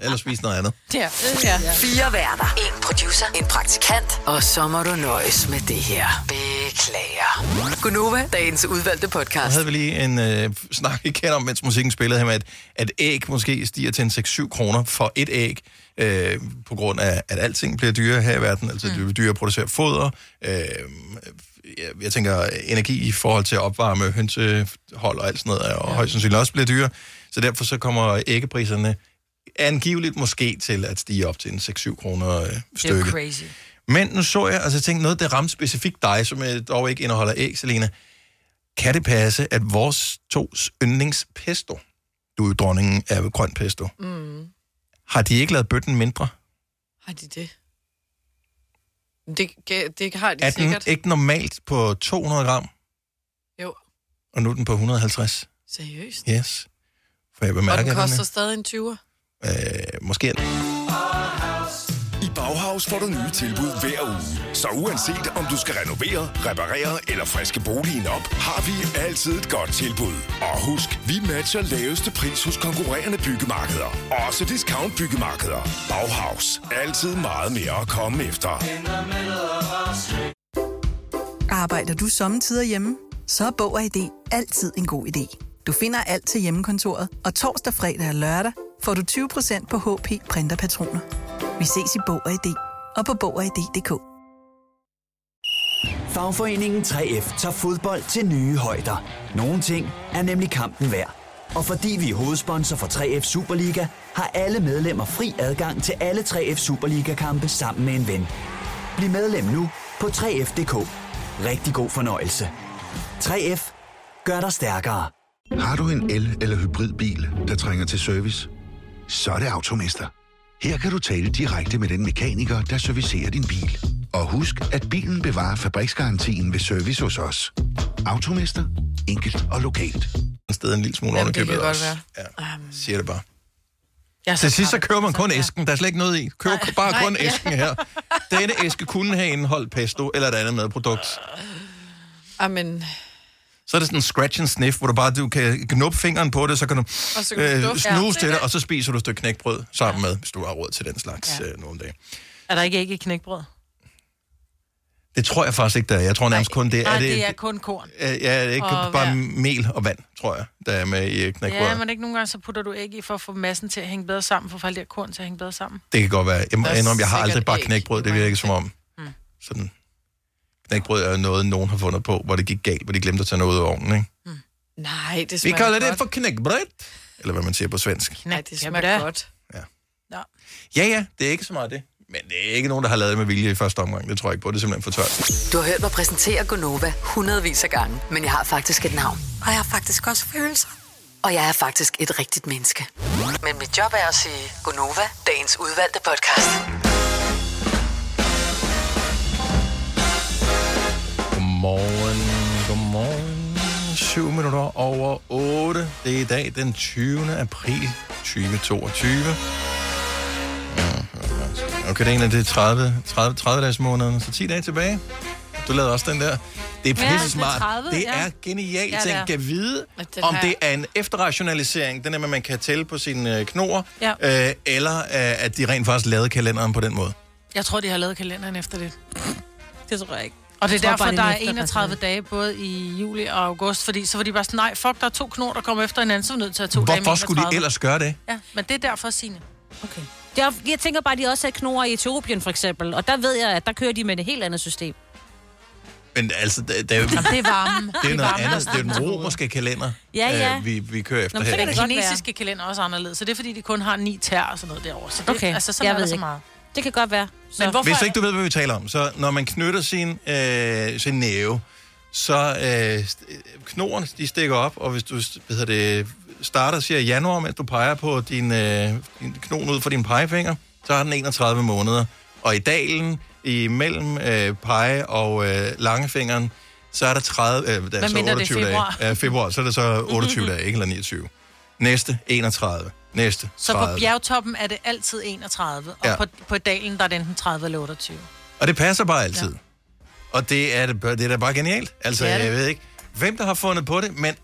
A: Eller spise noget andet.
D: Ja.
E: ja. Fire værter. En producer. En praktikant. Og så må du nøjes med det her. Beklager. Gunova, dagens udvalgte
A: Så
E: podcast.
A: havde vi lige en øh, snak igen om, mens musikken spillede her med, at, at æg måske stiger til en 6-7 kroner for et æg, øh, på grund af, at alting bliver dyrere her i verden. Altså, det bliver dyrere at producere foder. Øh, jeg, jeg tænker, energi i forhold til at opvarme hønsehold og alt sådan noget, og ja. højst sandsynligt også bliver dyrere. Så derfor så kommer æggepriserne angiveligt måske til at stige op til en 6-7 kroner øh,
D: Det er jo
A: stykke.
D: crazy.
A: Men nu så jeg, altså jeg tænkte noget, der ramte specifikt dig, som øh, dog ikke indeholder æg, Selena. Kan det passe, at vores tos yndlingspesto, du er jo dronningen af grøn pesto,
C: Mm.
A: har de ikke lavet bøtten mindre?
C: Har de det? Det, ga- det har de
A: Er den
C: sikkert.
A: ikke normalt på 200 gram,
C: Jo,
A: og nu er den på 150?
C: seriøst.
A: Yes. For jeg
C: Og
A: bemærker,
C: den
A: at
C: koster stadig en 20'er.
A: er- øh, måske er den.
I: I Bauhaus får du nye tilbud hver uge. Så uanset om du skal renovere, reparere eller friske boligen op, har vi altid et godt tilbud. Og husk, vi matcher laveste pris hos konkurrerende byggemarkeder. Også discount byggemarkeder. Bauhaus. Altid meget mere at komme efter.
O: Arbejder du sommetider hjemme? Så er Bog og ID altid en god idé. Du finder alt til hjemmekontoret, og torsdag, fredag og lørdag får du 20% på HP printerpatroner. Vi ses i Bog og ID og på Bog og ID.dk.
P: Fagforeningen 3F tager fodbold til nye højder. Nogle ting er nemlig kampen værd. Og fordi vi er hovedsponsor for 3F Superliga, har alle medlemmer fri adgang til alle 3F Superliga-kampe sammen med en ven. Bliv medlem nu på 3F.dk. Rigtig god fornøjelse. 3F gør dig stærkere.
Q: Har du en el- eller hybridbil, der trænger til service? Så er det Automester. Her kan du tale direkte med den mekaniker, der servicerer din bil. Og husk, at bilen bevarer fabriksgarantien ved service hos os. Automester. Enkelt og lokalt.
A: Stedet en lille smule
Q: Jamen, det
A: underkøbet
Q: kan godt
A: også.
Q: være.
A: Ja, siger det bare.
D: Jeg er
A: Til
D: så
A: sidst så
D: træt.
A: kører man kun æsken. Der er slet ikke noget i. Kører bare kun æsken her. Denne æske kunne have indeholdt pesto eller et andet madprodukt.
C: Amen.
A: Så er det sådan en scratch and sniff, hvor du bare du kan knuppe fingeren på det, så kan du,
C: Og så kan du
A: øh,
C: dufte. Ja,
A: snuse
C: det
A: til
C: er
A: det, og så spiser du et stykke knækbrød sammen med, hvis du har råd til den slags øh, nogle dage.
D: Er der ikke æg i knækbrød?
A: Det tror jeg faktisk ikke, der er. Jeg tror nærmest kun, det er,
D: Nej,
A: det,
D: det er kun korn.
A: Øh, ja, det er ikke
D: Og
A: bare
D: vejr.
A: mel og vand, tror jeg, der er med i øh, knækbrød.
D: Ja, men ikke nogle gange, så putter du æg i for at få massen til at hænge bedre sammen, for at få alt det her korn til at hænge bedre sammen.
A: Det kan godt være. Jeg må
D: Der er
A: indrømme, jeg har
D: sikkert
A: aldrig bare
D: æg
A: knækbrød. Det virker ikke som om.
D: Mm.
A: Sådan. Knækbrød er jo noget, nogen har fundet på, hvor det gik galt, hvor de glemte at tage noget ud af ovnen, ikke?
C: Nej, det
A: Vi
C: smager
A: kalder
C: godt.
A: det for knækbrød. Eller hvad man siger på svensk.
C: Nej, det smager godt.
A: Ja, ja, det er ikke så meget det. Men det er ikke nogen, der har lavet det med vilje i første omgang. Det tror jeg ikke på. Det er simpelthen for tørt.
E: Du har hørt mig præsentere Gonova hundredvis af gange, men jeg har faktisk et navn. Og jeg har faktisk også følelser. Og jeg er faktisk et rigtigt menneske. Men mit job er at sige Gonova, dagens udvalgte podcast.
A: Godmorgen, godmorgen. 7 minutter over 8. Det er i dag den 20. april 2022. Ja, Mm, Okay, det er en af de 30, 30, 30 dages måneder, så 10 dage tilbage. Du lavede også den der. Det er
H: Ja,
A: pisse smart.
H: det er 30,
A: det
H: ja.
A: er genialt.
H: Ja,
A: Ja,
H: det er.
A: Tænk, kan vide,
H: At den
A: om
H: har-
A: det er en efterrationalisering, den er, at man kan tælle på sine øh, knor,
D: Ja.
A: øh, eller øh, at de rent faktisk lavede kalenderen på den måde.
D: Jeg tror, de har lavet kalenderen efter det.
F: Det tror jeg ikke.
D: Og det
F: Jeg
D: er
F: tror
D: derfor,
F: bare, det
D: der
F: er
D: er
F: en efterrationalisering.
D: 31 dage, både i juli og august, fordi så var de bare sådan, nej, fuck, der er to knor, der kommer efter hinanden, så er vi nødt til at have to dage med
A: Hvorfor skulle de
D: 31.
A: ellers gøre det?
D: Ja, men det er derfor, Signe.
F: Okay. Det er, jeg tænker bare, at de også havde knorer i Etiopien, for eksempel. Og der ved jeg, at der kører de med et helt andet system.
A: Men altså, det, det er jo...
D: Det er varmen.
A: Det er
D: er
A: noget
D: varme,
A: andet. Det er den
D: sådan.
A: romerske kalender,
D: Ja, ja.
A: Øh, vi, vi kører efter
D: Nå, men så
A: her.
D: kan den kinesiske kalender også anderledes, så det er fordi, de kun har ni tær og sådan noget derovre. Så det,
F: Okay,
D: altså, så
F: jeg
D: er der
F: ved
D: så
F: ikke.
D: meget.
F: Det kan godt være. Så.
A: Hvis ikke du ved, hvad vi taler om, så når man knytter sin, øh, sin næve, så øh, st- øh, knoren, de stikker op, og hvis du st- hvad hedder det, starter siger januar, mens du peger på din, øh, din knoen ud fra din pegefinger, så har den 31 måneder. Og i dalen, imellem øh, pege og øh, langefingeren, så er der 30, øh, der er
H: Hvad
A: så
H: mindre det er
A: 28
H: februar.
A: dage. Ja, februar. Så er det så 28 dage, ikke? Eller 29. Næste, 31. Næste, 30.
D: Så på bjergtoppen er det altid 31, og
A: Ja.
D: ja. på, på dalen, der er det enten 30 eller 28.
A: Og det passer bare altid. Ja. Og det er, det er da bare genialt. Altså,
D: Det er det.
A: jeg ved ikke, hvem der har fundet på det, men...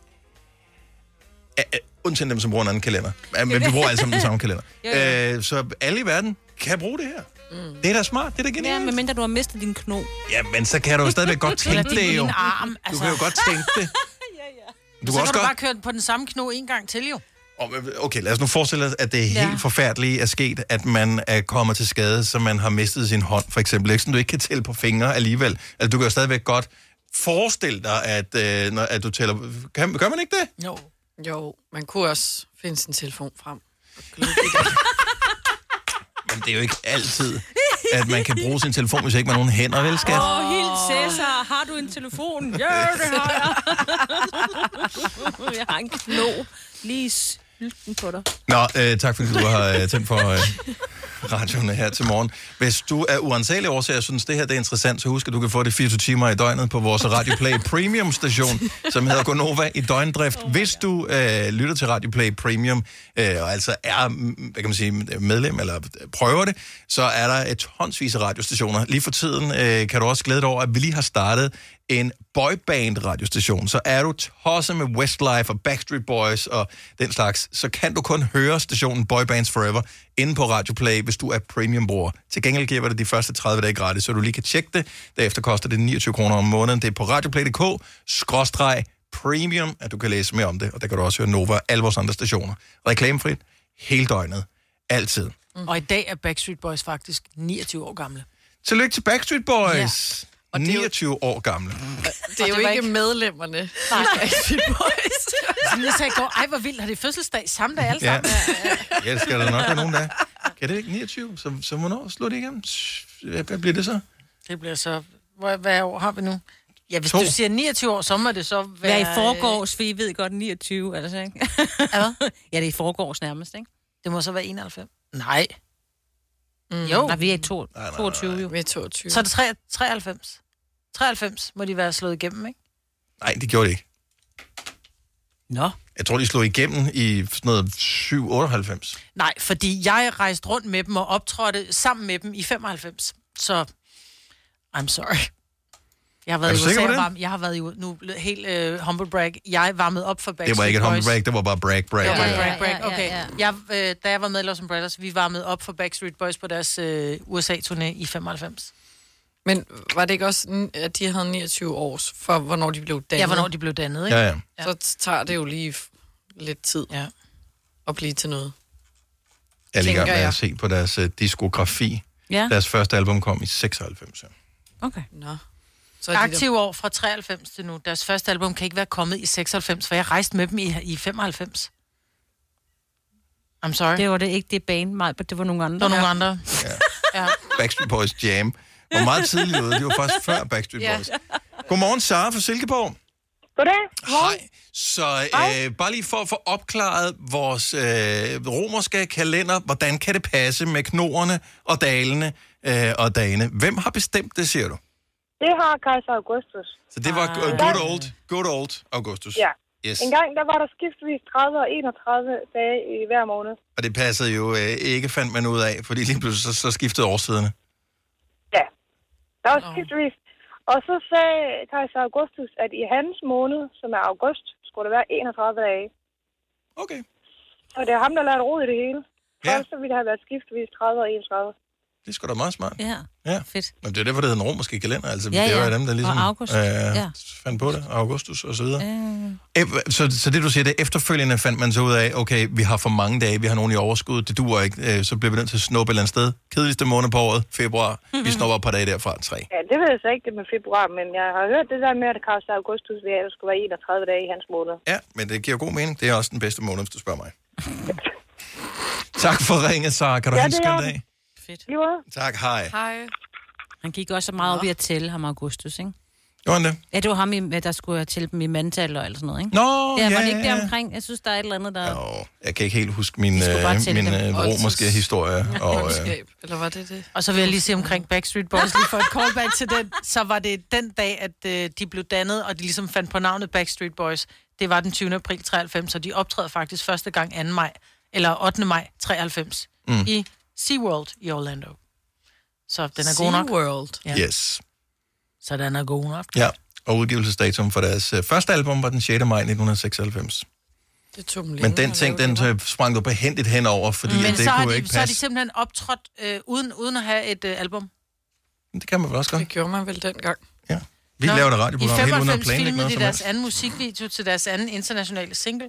A: Ja, ja, Undtagen dem, som bruger en anden kalender. Ja, Men vi bruger alle sammen den samme kalender.
F: Jo,
A: Øh, så alle i verden kan bruge det her. Mm. Det er da smart, det er da
F: Ja,
A: genialt.
F: medmindre du har mistet din kno.
A: Ja, men så kan du jo stadigvæk godt
D: Eller
A: tænke
D: din
A: det jo.
D: ene arm,
A: Du
D: altså.
A: kan jo godt tænke det. Du
D: Du
A: kan
D: så
A: også
D: kan du
A: godt...
D: bare køre den på den samme kno en gang til, jo.
A: Åh, men Okay, lad os nu forestille os, at det helt
D: Ja.
A: forfærdelige er sket, at man er kommet til skade, så man har mistet sin hånd, for eksempel. Ikke sådan, du ikke kan tælle på fingre alligevel. Altså, du kan jo stadigvæk godt forestille dig, at, øh, når, at du tæller... Kan, gør man ikke det?
D: Jo.
C: Jo, man kunne også finde sin telefon frem.
A: Men det er jo ikke altid, at man kan bruge sin telefon, hvis ikke man har nogen hænder, vel, skat?
F: Åh, oh, helt Cæsar, har du en telefon? Ja, det har jeg. jeg har en kno. Lige s- Lygten på dig.
A: Nå, øh, tak fordi du har øh, tændt for øh, radioen her til morgen. Hvis du af uansagelige årsager synes, det her det er interessant, så husk, at du kan få det 24 timer i døgnet på vores Radio Play Premium station, som hedder Gonova i døgndrift. Hvis du øh, lytter til Radio Play Premium, øh, og altså er mm, hvad kan man sige, medlem eller øh, prøver det, så er der et håndsvis af radiostationer. Lige for tiden øh, kan du også glæde dig over, at vi lige har startet en boyband-radiostation, så er du tosset med Westlife og Backstreet Boys og den slags, så kan du kun høre stationen Boybands Forever inde på Radio Play, hvis du er premium-bruger. Til gengæld giver vi dig de første 30 dage gratis, så du lige kan tjekke det. Derefter koster det 29 kroner om måneden. Det er på radioplay.dk, skråstreg, premium, at du kan læse mere om det, og der kan du også høre Nova og alle vores andre stationer. Reklamefrit, hele døgnet, altid.
D: Mm. Og i dag er Backstreet Boys faktisk 29 år gamle.
A: Tillykke til Backstreet Boys! Ja. 29 år gamle.
C: Det er jo ikke, ikke medlemmerne.
D: Nej, Som jeg sagde i går, ej hvor vildt, har det fødselsdag samme dag alle
A: Ja.
D: sammen?
A: ja, det skal der nok være nogen, der er. Kan det ikke 29? Så, så hvornår slår det igennem? Hvad hvad bliver det så?
D: Det bliver så... Hvor, hvad år har vi nu? Ja, hvis
A: To.
D: to. du siger 29 år, så må det så
F: Hvad
D: være... øh,
F: er i forgårs, for I ved godt 29, altså, ikke? ja, det er i forgårs nærmest, ikke?
D: Det må så være 91. Nej. Mm.
F: Jo.
D: Jo.
F: Nej, vi er i to, 22 jo.
C: Vi er 22.
D: Så er det tre- 93. 93 må de være slået igennem, ikke?
A: Nej, det gjorde det ikke.
D: Nå.
A: Jeg tror, de slog igennem i sådan noget 7, 98.
D: Nej, fordi jeg rejste rundt med dem og optrådte sammen med dem i 95. Så I'm sorry. Jeg har
A: Er
D: været
A: du
D: i
A: sikker
D: USA
A: på
D: og
A: det?
D: varm, jeg har været i nu blev jeg helt øh, humble brag. Jeg varmede op for Backstreet
A: Det var ikke et humble
D: Boys.
A: break, det var bare brag, brag,
D: Det var
A: brag.
D: bare brag,
F: ja,
D: brag.
F: ja,
D: Okay. Jeg, øh, da jeg var med i Los Umbrellas, vi varmede op for Backstreet Boys på deres øh, USA-turné i 95.
C: Men var det ikke også, mm, at de havde 29 års, for hvornår de blev dannet?
D: Ja, hvornår de blev dannet, ikke?
A: Ja, ja.
C: Så t- tager det jo lige f- lidt tid ja. at blive til noget.
A: Jeg er lige i gang
C: Tænker
A: med
C: jeg.
A: at se på deres uh, diskografi.
D: Ja.
A: Deres første album kom i 96. ja.
F: Okay.
C: Nå. Så
D: Så
C: er de
D: Aktive år fra 93 til nu. Deres første album kan ikke være kommet i 96, for jeg rejste med dem i, i 95. I'm sorry.
F: Det var det ikke det band, mig, men det var nogle andre.
D: Der var nogle andre. Ja.
A: Backstreet Boys Jam. Hvor meget tidligere ude. Det var faktisk før Backstreet
D: Ja.
A: Boys. Godmorgen, Sara fra Silkeborg.
S: Goddag.
A: Hej. Så øh, bare lige for at få opklaret vores øh, romerske kalender, hvordan kan det passe med knorene og dalene øh, og dagene? Hvem har bestemt det, siger du?
S: Det har kejser Augustus.
A: Så det var
S: Ah.
A: uh, good old, good old Augustus.
S: Ja.
A: Yes.
S: En gang der var der skiftvis 30 og 31 dage i hver måned.
A: Og det passede jo øh, ikke, fandt man ud af, fordi lige pludselig så, så skiftede årsiderne.
S: Ja, der var skiftvis. Og så sagde kejser Augustus, at i hans måned, som er august, skulle der være 31 dage.
A: Okay.
S: Så det er ham, der lavede rod i det hele.
A: Ja.
S: Først så ville det have været skiftvis 30 og 31.
A: Det er sgu da meget smart.
F: Ja.
A: Ja.
F: Fedt.
A: Men det er derfor, det hedder den romerske kalender. Altså,
F: Ja,
A: ja, ja. Det var
F: ja.
A: jo dem, der
F: Og
A: ligesom
F: August. Ja.
A: fandt på det. og Augustus og så videre. Øh. Så, så det, du siger, det er efterfølgende fandt man så ud af, okay, vi har for mange dage, vi har nogen i overskud, det duer ikke, øh, så bliver vi nødt til at snuppe et eller andet sted. Kedeligste måned på året, februar, vi snupper et par dage derfra, tre.
S: Ja, det ved jeg så ikke det med februar, men jeg har hørt det der med, at Kajsa Augustus ville have, at der skulle være 31 dage i hans måned.
A: Ja, men det giver god mening. Det er også den bedste måned, hvis du spørger mig. tak for ringet, Sara. Kan du
F: Ja,
A: ja, have en
F: det er
A: skøn
F: jeg.
A: dag?
F: Fedt.
A: Tak, hej.
C: Hej.
F: Han gik også så meget op i at tælle ham Augustus, ikke?
A: Gjorde han det?
F: Ja, det var ham, i- der skulle tælle dem i mandtal og eller sådan noget, ikke?
A: Nå,
F: ja, var
A: ja,
F: det ikke
A: ja.
F: deromkring? Jeg synes, der er et eller andet, der... Jo.
A: Jeg kan ikke helt huske min,
F: skulle bare
A: øh,
F: tælle
A: min
F: dem.
A: øh, romerske
F: Oldtids-
A: historie. Og, øh,
C: Eller var det det?
D: Og så vil jeg lige sige omkring Backstreet Boys, lige for et callback til den, så var det den dag, at øh, de blev dannet, og de ligesom fandt på navnet Backstreet Boys. Det var den 20. april 93, så de optræder faktisk første gang 2. maj, eller 8. maj 93,
A: Mm.
D: mm. i SeaWorld i Orlando. Så den er god nok.
C: SeaWorld.
D: Ja.
A: Yes.
D: Så den er god nok.
A: Ja, og udgivelsesdatoen for deres øh, første album var den 6. maj 1996.
C: Det tog dem
A: Men den ting, den øh, sprang du behændigt henover, fordi mm.
D: Men
A: det
D: så, har
A: kunne
D: de,
A: ikke
D: så er de
A: passe.
D: simpelthen optrådt øh, uden, uden at have et øh, album.
A: Det kan man vel også
C: Det
A: godt.
C: gjorde man vel dengang.
A: Vi
D: Nå,
A: laver et radioprogram
D: I
A: helt uden at
D: 95
A: planlægge
D: filmede
A: noget
D: de
A: som
D: deres
A: helst.
D: anden musikvideo til deres anden internationale single.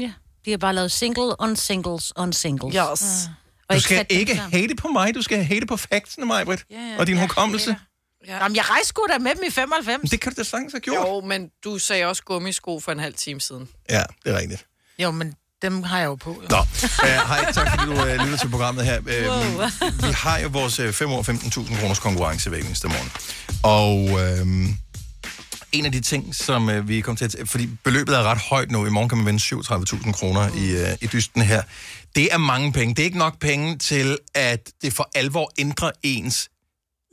F: Ja. De har bare lavet single on singles on singles.
D: Yes.
F: Mm.
A: Du
F: ikke
A: skal
F: sætte dem
A: ikke
F: sammen.
A: hate på mig, du skal hate på factsene, mig, Britt.
C: ja,
A: og din
C: ja,
A: hukommelse.
C: Ja.
D: Jamen, jeg rejste sgu da med dem i 95.
A: Det kan du da sagtens have
C: gjort. Jo, men du sagde også gummisko for en halv time siden.
A: Ja, det er rigtigt.
D: Jo, men dem har jeg jo på. Jo.
A: Nå, øh, hej, tak fordi du øh, lytter til programmet her. Øh, Vi har jo vores øh, 5 år 15.000 kroners konkurrence hver eneste morgen. Og øh, en af de ting, som øh, vi kom til at... Fordi beløbet er ret højt nu. I morgen kan man vinde 37.000 kroner i, øh, i dysten her. Det er mange penge. Det er ikke nok penge til, at det for alvor ændrer ens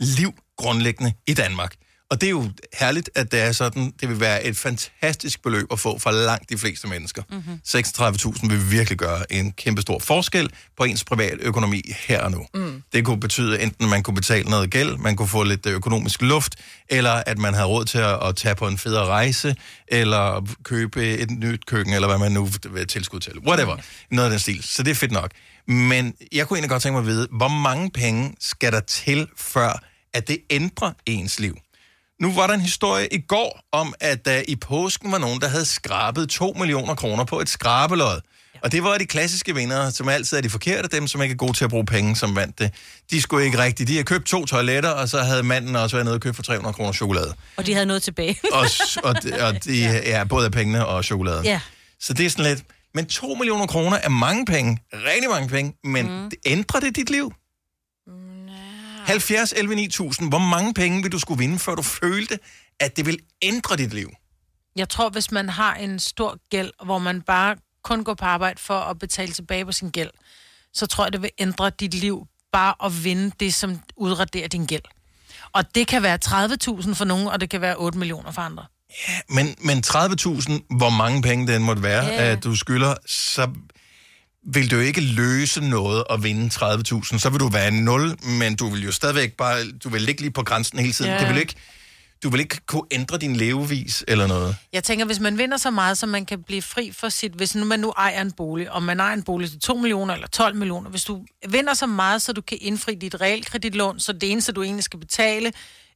A: liv grundlæggende i Danmark. Og det er jo herligt, at det er sådan. Det vil være et fantastisk beløb at få for langt de fleste mennesker. Mm-hmm. 36.000 vil virkelig gøre en kæmpe stor forskel på ens privat økonomi her og nu. Mm. Det kunne betyde, enten man kunne betale noget gæld, man kunne få lidt øh, økonomisk luft, eller at man havde råd til at, at tage på en federe rejse, eller købe et nyt køkken, eller hvad man nu vil have tilskud til. Whatever. Noget af den stil. Så det er fedt nok. Men jeg kunne egentlig godt tænke mig at vide, hvor mange penge skal der til, før at det ændrer ens liv? Nu var der en historie i går om, at der i påsken var nogen, der havde skrabet 2 millioner kroner på et skrabelod. Og det var de klassiske vinder, som altid er de forkerte, dem som ikke er gode til at bruge penge, som vandt det. De skulle ikke rigtigt. De havde købt to toiletter, og så havde manden også været nede og købt for 300 kroner chokolade.
F: Og de havde noget tilbage.
A: Og, s- og, de- og de, ja, både af pengene og chokoladen.
F: Ja.
A: Så det er sådan lidt... Men 2 millioner kroner er mange penge, rigtig mange penge, men mm. ændrer det dit liv? 70, 11, 9000. Hvor mange penge vil du skulle vinde, før du følte, at det vil ændre dit liv?
D: Jeg tror, hvis man har en stor gæld, hvor man bare kun går på arbejde for at betale tilbage på sin gæld, så tror jeg, det vil ændre dit liv bare at vinde det, som udraderer din gæld. Og det kan være 30.000 for nogen, og det kan være 8 millioner for andre.
A: Men, men 30.000, hvor mange penge den måtte være,
D: Ja.
A: yeah. at du skylder, så vil du jo ikke løse noget at vinde 30.000. Så vil du være en 0, men du vil jo stadigvæk bare... Du vil ligge lige på grænsen hele tiden.
D: Ja.
A: Yeah. Det vil ikke, du vil ikke kunne ændre din levevis eller noget.
D: Jeg tænker, hvis man vinder så meget, så man kan blive fri for sit... Hvis nu man nu ejer en bolig, og man ejer en bolig til 2 millioner eller 12 millioner, hvis du vinder så meget, så du kan indfri dit realkreditlån, så det eneste, du egentlig skal betale,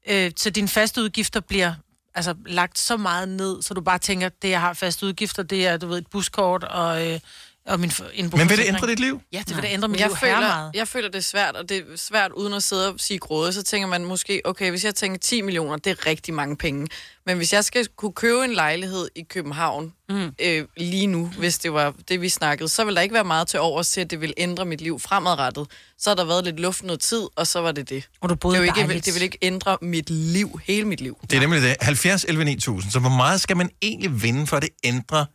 D: øh, så dine faste udgifter bliver altså, lagt så meget ned, så du bare tænker, det, jeg har faste udgifter, det er, du ved, et buskort og... Øh, og min, for- en
A: Men vil det
D: forsikring.
A: ændre dit liv?
D: Ja, det vil det ændre mit
C: jeg
D: liv
C: føler,
D: her meget.
C: Jeg føler, det er svært, og det er svært uden at sidde og sige gråde. Så tænker man måske, okay, hvis jeg tænker 10 millioner, det er rigtig mange penge. Men hvis jeg skal kunne købe en lejlighed i København mm. øh, lige nu, hvis det var det, vi snakkede, så vil der ikke være meget til overs til, at det vil ændre mit liv fremadrettet. Så har der været lidt luft noget tid, og så var det det.
F: Og du boede
C: det, er jo ikke,
F: dejligt.
C: det vil ikke ændre mit liv, hele mit liv.
A: Det er nemlig det. 70, 11, 9000. Så hvor meget skal man egentlig vinde, for at det ændrer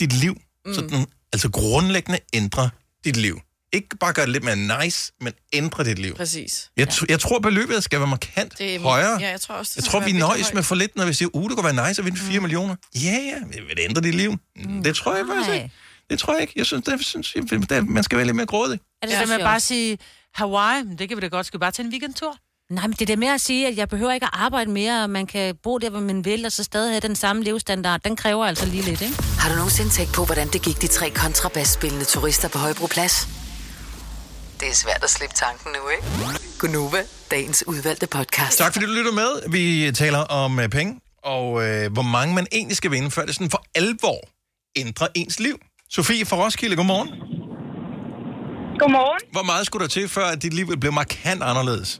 A: dit liv? Mm. Sådan, altså grundlæggende ændrer dit liv. Ikke bare gøre det lidt mere nice, men ændre dit liv.
C: Præcis.
A: Jeg, t- jeg tror, beløbet skal være markant
C: Det
A: det
C: er-
A: er, højere.
C: Øhm, ja, jeg tror også, det
A: jeg
C: skal
A: tror
C: være Mm.
A: vi
C: virkelig
A: nøjes med for lidt, når vi siger, uh, det kunne være nice at vinde 4 millioner. Ja, ja, vil det ændre dit liv? Mm. Det tror jeg faktisk ikke. Det tror jeg ikke. Jeg synes, det, synes jeg, det, man skal være lidt mere grådig.
D: Er det ja, så med bare at sige, Hawaii, Men det kan vi da godt, skal vi bare tage en weekendtur?
F: Nej, men det er da mere at sige, at jeg behøver ikke at arbejde mere, og man kan bo der, hvor man vil, og så stadig have den samme levestandard. Den kræver altså lige lidt, ikke?
E: Har du nogensinde tænkt på, hvordan det gik de tre kontrabasspillende turister på Højbroplads? Det er svært at slippe tanken nu, ikke? Gunova, dagens udvalgte
C: Altså.
E: podcast.
A: Tak fordi du lytter med. Vi taler om øh, penge, og øh, hvor mange man egentlig skal vinde, før det sådan for alvor ændrer ens liv. Sofie fra Roskilde, godmorgen.
B: Godmorgen.
A: Hvor meget skulle der til, før at dit liv ville blive markant anderledes?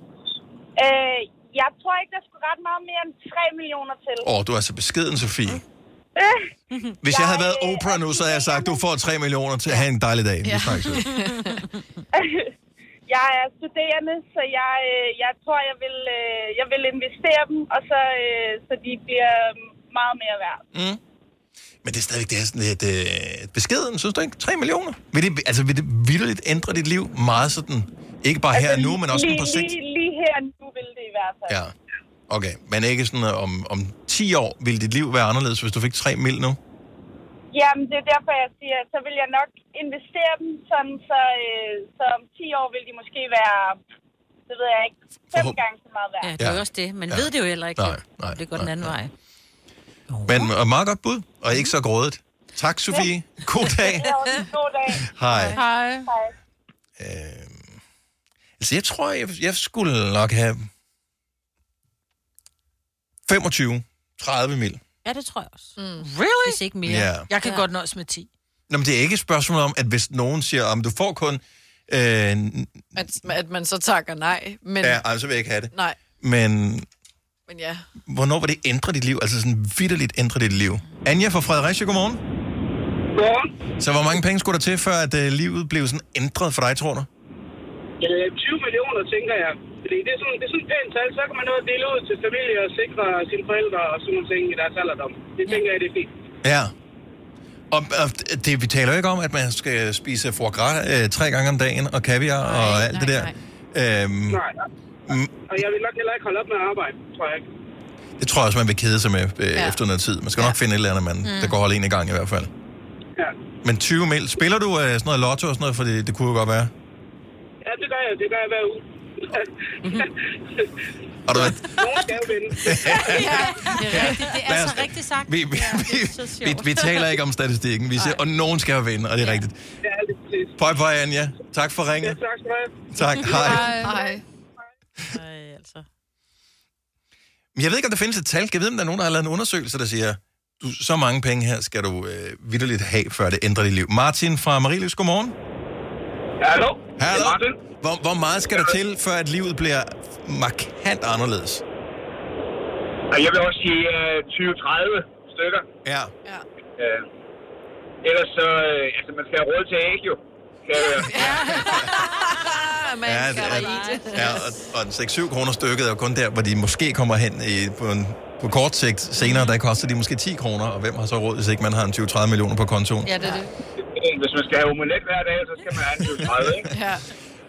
B: Øh, jeg tror ikke, der skulle ret meget mere end 3 millioner til.
A: Åh, du er så beskeden, Sofie.
B: Øh,
A: Hvis jeg havde været Oprah nu, så havde jeg sagt, du får 3 millioner til at have en dejlig dag. Vi snakkes ved.
B: jeg er studerende, så jeg, øh, jeg tror, jeg vil, øh, jeg vil investere dem, og så, øh, så de bliver meget mere værd.
A: Mm. Men det er stadigvæk det er sådan lidt øh, beskeden, synes du ikke? 3 millioner? Vil det, altså, vil det vildt ændre dit liv meget sådan? Ikke bare
M: Altså,
A: her og nu, men også sådan
B: Altså, lige,
A: på sigt?
B: Lige, lige her og nu vil det i hvert fald.
A: Ja. Okay, men ikke sådan, øh, om, om 10 år ville dit liv være anderledes, hvis du fik 3 mil nu?
B: Jamen, det er derfor, jeg siger, så vil jeg nok investere dem, sådan, så, øh, så om 10 år vil de måske være, det ved jeg ikke, fem
A: Forhåb-
B: gange så meget værd.
F: Ja, det er jo også det. Man ved det jo heller ikke.
A: Nej, nej.
F: Det går den anden vej.
A: Men og meget godt bud, og ikke så grådet. Tak, Sofie. God dag.
B: God dag.
A: Hej.
D: Hej.
A: Altså, jeg tror, jeg, jeg skulle nok have 25, 30 mil.
F: Ja, det tror jeg også.
D: Mm. Really? Hvis
F: ikke
A: mere. Ja.
D: Jeg kan
F: Ja.
D: godt nøjes med 10.
A: Nå, men det er ikke et spørgsmål om, at hvis nogen siger, at du får kun... Øh, ja,
C: At, at man så takker nej, men...
A: ej, så vil jeg ikke have det.
C: Nej,
A: Men
C: men ja.
A: hvornår vil det ændre dit liv? Altså sådan vidderligt ændre dit liv. Anja fra Fredericia, godmorgen. Godmorgen. Så hvor mange penge skulle der til, før at øh, livet blev sådan ændret for dig, tror du?
U: Øh, 20 millioner, tænker jeg. Fordi det er sådan, det er sådan et pænt tal, så kan man nå at dele ud til familie og sikre sine forældre og sådan nogle ting i deres alderdom. Det tænker jeg, det er fint.
A: Ja. Og, og det, vi taler jo ikke om, at man skal spise foie gras øh, tre gange om dagen, og kaviar nej, og alt nej, det der. Nej. Øhm, mm,
U: Nej. Og jeg vil nok heller ikke holde op med at arbejde, tror jeg ikke.
A: Det tror jeg også, man vil kede sig med øh, ja. efter noget tid. Man skal ja. nok finde et eller andet, man, mm. der går holde en i gang i hvert fald.
U: Ja.
A: Men 20 mil. Spiller du øh, sådan noget lotto og sådan noget? For det, det kunne jo godt være.
U: Ja, det gør jeg. Det gør jeg hver uge.
A: Har du været
U: Nogen skal jo vinde.
A: Ja,
F: det er rigtigt.
D: altså
F: Det
A: Lad
F: er
A: os-
F: så rigtigt sagt.
A: Vi, vi,
F: så
A: vi, vi,
F: sjovt.
A: vi taler ikke om statistikken. Vi siger, og nogen skal jo vinde, og det er rigtigt. Pøj, pøj, Anja. Tak for ringet.
U: Tak skal du have.
A: Tak. Hej.
C: Hej.
A: Men Jeg ved ikke, om der findes et tal. Kan jeg vide, om der er nogen, der har lavet en undersøgelse, der siger, du, så mange penge her skal du øh, vidderligt have, før det ændrer dit liv. Martin fra Marilys, godmorgen.
U: Hallo.
A: Hallo. Hvor, hvor meget skal der til, før at livet bliver markant anderledes?
U: Og jeg vil også sige øh, 20-30 stykker.
A: Ja.
U: Øh, ellers så, øh, altså man skal have råd til æg jo. Kan jeg høre.
C: Man
A: Ja,
C: skal
A: det
C: da
A: er-
C: i det.
A: Ja, og, og 6-7 kroner stykket er jo kun der, hvor de måske kommer hen i, på, en, på kort sigt. Senere, der koster de måske 10 kroner, og hvem har så råd, hvis ikke man har en 20-30 millioner på kontoen?
C: Ja, det er det.
U: Hvis man skal have omelet hver dag, så skal man have en 20-30, ikke?
C: Ja.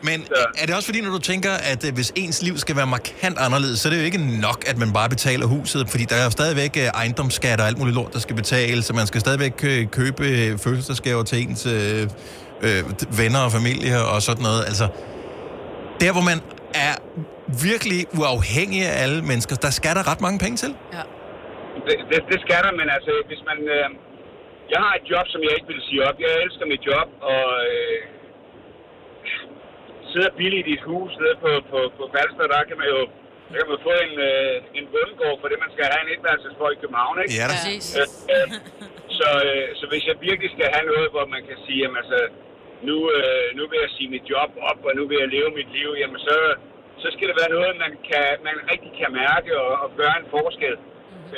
A: Men er det også fordi, når du tænker, at øh, hvis ens liv skal være markant anderledes, så er det jo ikke nok, at man bare betaler huset, fordi der er jo stadigvæk øh, ejendomsskat og alt muligt lort, der skal betales, så man skal stadigvæk øh, købe øh, fødselsdagsgaver til ens øh, øh, venner og familie og sådan noget. Altså, der hvor man er virkelig uafhængig af alle mennesker, der skal der ret mange penge til.
U: Det, det, det skal der, men altså, hvis man... Øh, jeg har et job, som jeg ikke vil sige op. Jeg elsker mit job, og øh, sidder billigt i et hus nede på, på, på Falster, der kan man jo der kan man få en, øh, en bundgård for det, man skal have en etværelsesfolk i København, ikke?
A: Ja da.
U: Øh, øh, så, øh, så hvis jeg virkelig skal have noget, hvor man kan sige, jamen altså, nu, øh, nu vil jeg sige mit job op, og nu vil jeg leve mit liv, jamen så, så skal det være noget, man, kan, man rigtig kan mærke og, og gøre en forskel.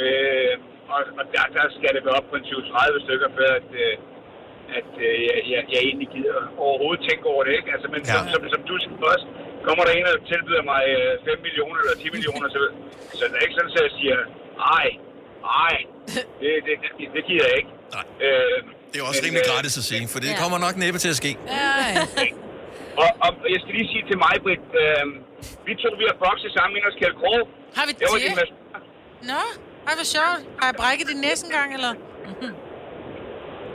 U: Øh, og og der, der skal det være op på en 20-30 stykker, før at, øh, at øh, jeg, jeg, jeg egentlig gider overhovedet tænke over det. Ikke? Altså, men ja. som, som, som du siger også, kommer der en og tilbyder mig øh, 5 millioner eller 10 millioner, så, så det er ikke sådan, at jeg siger, nej, nej, det, det, det, det gider jeg ikke.
A: Nej.
U: Øh,
A: Det er jo også rimelig gratis at sige, for det kommer nok næppe til at ske.
U: og, og jeg skal lige sige til mig, Britt, øh, vi to vi har bokset sammen i hos Kjeld Krog.
D: Har vi
U: Jeg var
D: det?
U: din mas-
D: Nå, ej, hvor sjovt. Har jeg brækket din næse engang, eller?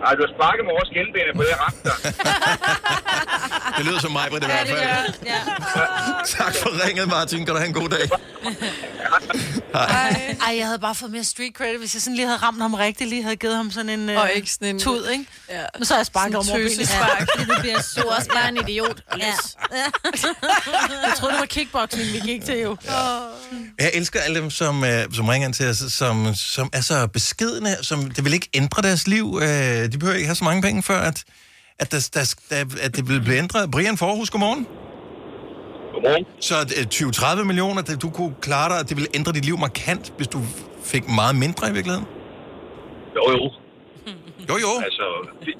U: Ej, du har sparket med vores genbenet på det, jeg ramte dig.
A: Det lyder som mig, Britt, i hvert fald.
D: Ja.
A: Tak for ringet, Martin. Kan du have en god dag.
D: Ej. Ej, jeg havde bare fået mere street credit, hvis jeg sådan lige havde ramt ham rigtigt, lige havde givet ham sådan en øh,
C: Og ikke sådan en-
D: tud, ikke?
C: Ja.
D: Men så har jeg sparket om
C: Sådan en tøsespark.
D: Ja, det bliver sur.
C: Du er også bare en idiot.
D: Ja. jeg troede, det var kickboxing, vi gik til jo. Ja.
A: Jeg elsker alle dem, som, øh, som ringer ind til os, som, som er så beskedende, som det vil ikke ændre deres liv. Øh, de behøver ikke have så mange penge, før at, at, der, der, der, at det vil blive ændret. Brian Forhus, godmorgen.
U: Godmorgen.
A: Så øh, 20-30 millioner, det, du kunne klare dig, at det ville ændre dit liv markant, hvis du fik meget mindre i virkeligheden?
U: Jo, jo.
A: Jo, jo.
U: Altså, det,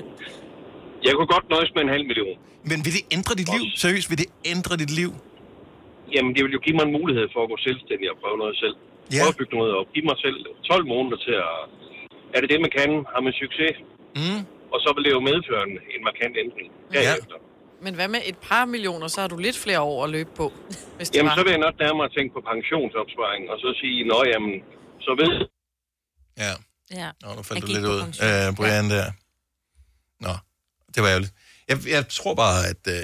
U: jeg kunne godt nøjes med en halv million.
A: Men vil det ændre dit liv? Seriøst, vil det ændre dit liv?
U: Jamen, det vil jo give mig en mulighed for at gå selvstændig og prøve noget selv.
A: Ja.
U: Prøve at bygge noget op. Give mig selv 12 måneder til at... Er det det, man kan? Har man succes?
A: Mm.
U: Og så vil det jo medføre en, en markant ændring. Derefter. Ja.
C: Men hvad med et par millioner, så har du lidt flere år at løbe på, hvis det
U: Jamen,
C: var.
U: så vil jeg nok nærmere tænke på pensionsopsparing, og så sige, nå jamen, så ved
A: Ja.
F: Ja.
A: Nå, nu faldt
F: Jeg
A: du
F: gik
A: lidt
F: på
A: ud,
F: pension.
A: øh, Brian, der. Nå, det var ærgerligt. Jeg, jeg tror bare, at... Øh,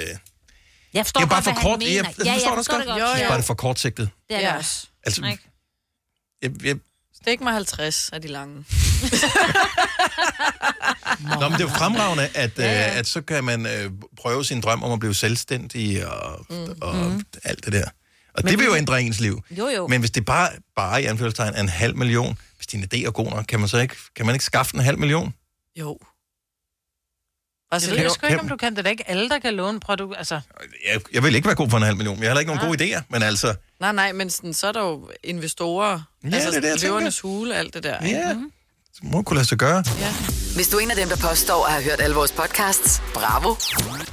F: Jeg forstår
A: det er bare
F: godt,
A: for
F: hvad
A: kort.
F: han mener.
A: Jeg, jeg,
F: Ja, jeg
A: forstår det også
F: forstår
A: godt.
F: det godt. Jo,
A: Jeg synes
F: jo.
A: bare, det er for kortsigtet.
F: Det er det også.
A: Altså,
F: Ikke?
A: jeg, jeg,
C: Stik mig 50 af de lange.
A: Nå, men det er jo fremragende, at, ja, ja. at så kan man øh, prøve sin drøm om at blive selvstændig og, mm.
Q: Um,
A: og
Q: mm-hmm.
A: mm. alt det der. Og men det vil jo ændre ens liv.
F: Jo, jo.
A: Men hvis det bare, bare i anførselstegn er en halv million, hvis din idé er god nok, kan man så ikke, kan man ikke skaffe en halv million?
C: Jo.
D: Altså,
A: Jeg
D: jeg
A: ved
D: ved sgu ikke,
A: jo-
D: om du kan. Det er da ikke alle, der kan låne. Prøv, du, altså,
A: Jeg, jeg vil ikke være god for en halv million, men jeg har heller ikke nogen gode idéer, men altså...
C: Nej, nej, men sådan, så er der jo investorer.
A: Ja, det er det, jeg tænker.
C: løvernes hule, alt det der.
A: Ja.
C: Ikke?
A: Det må kunne lade sig gøre.
E: Hvis du er en af dem, der påstår at have hørt alle vores podcasts, bravo.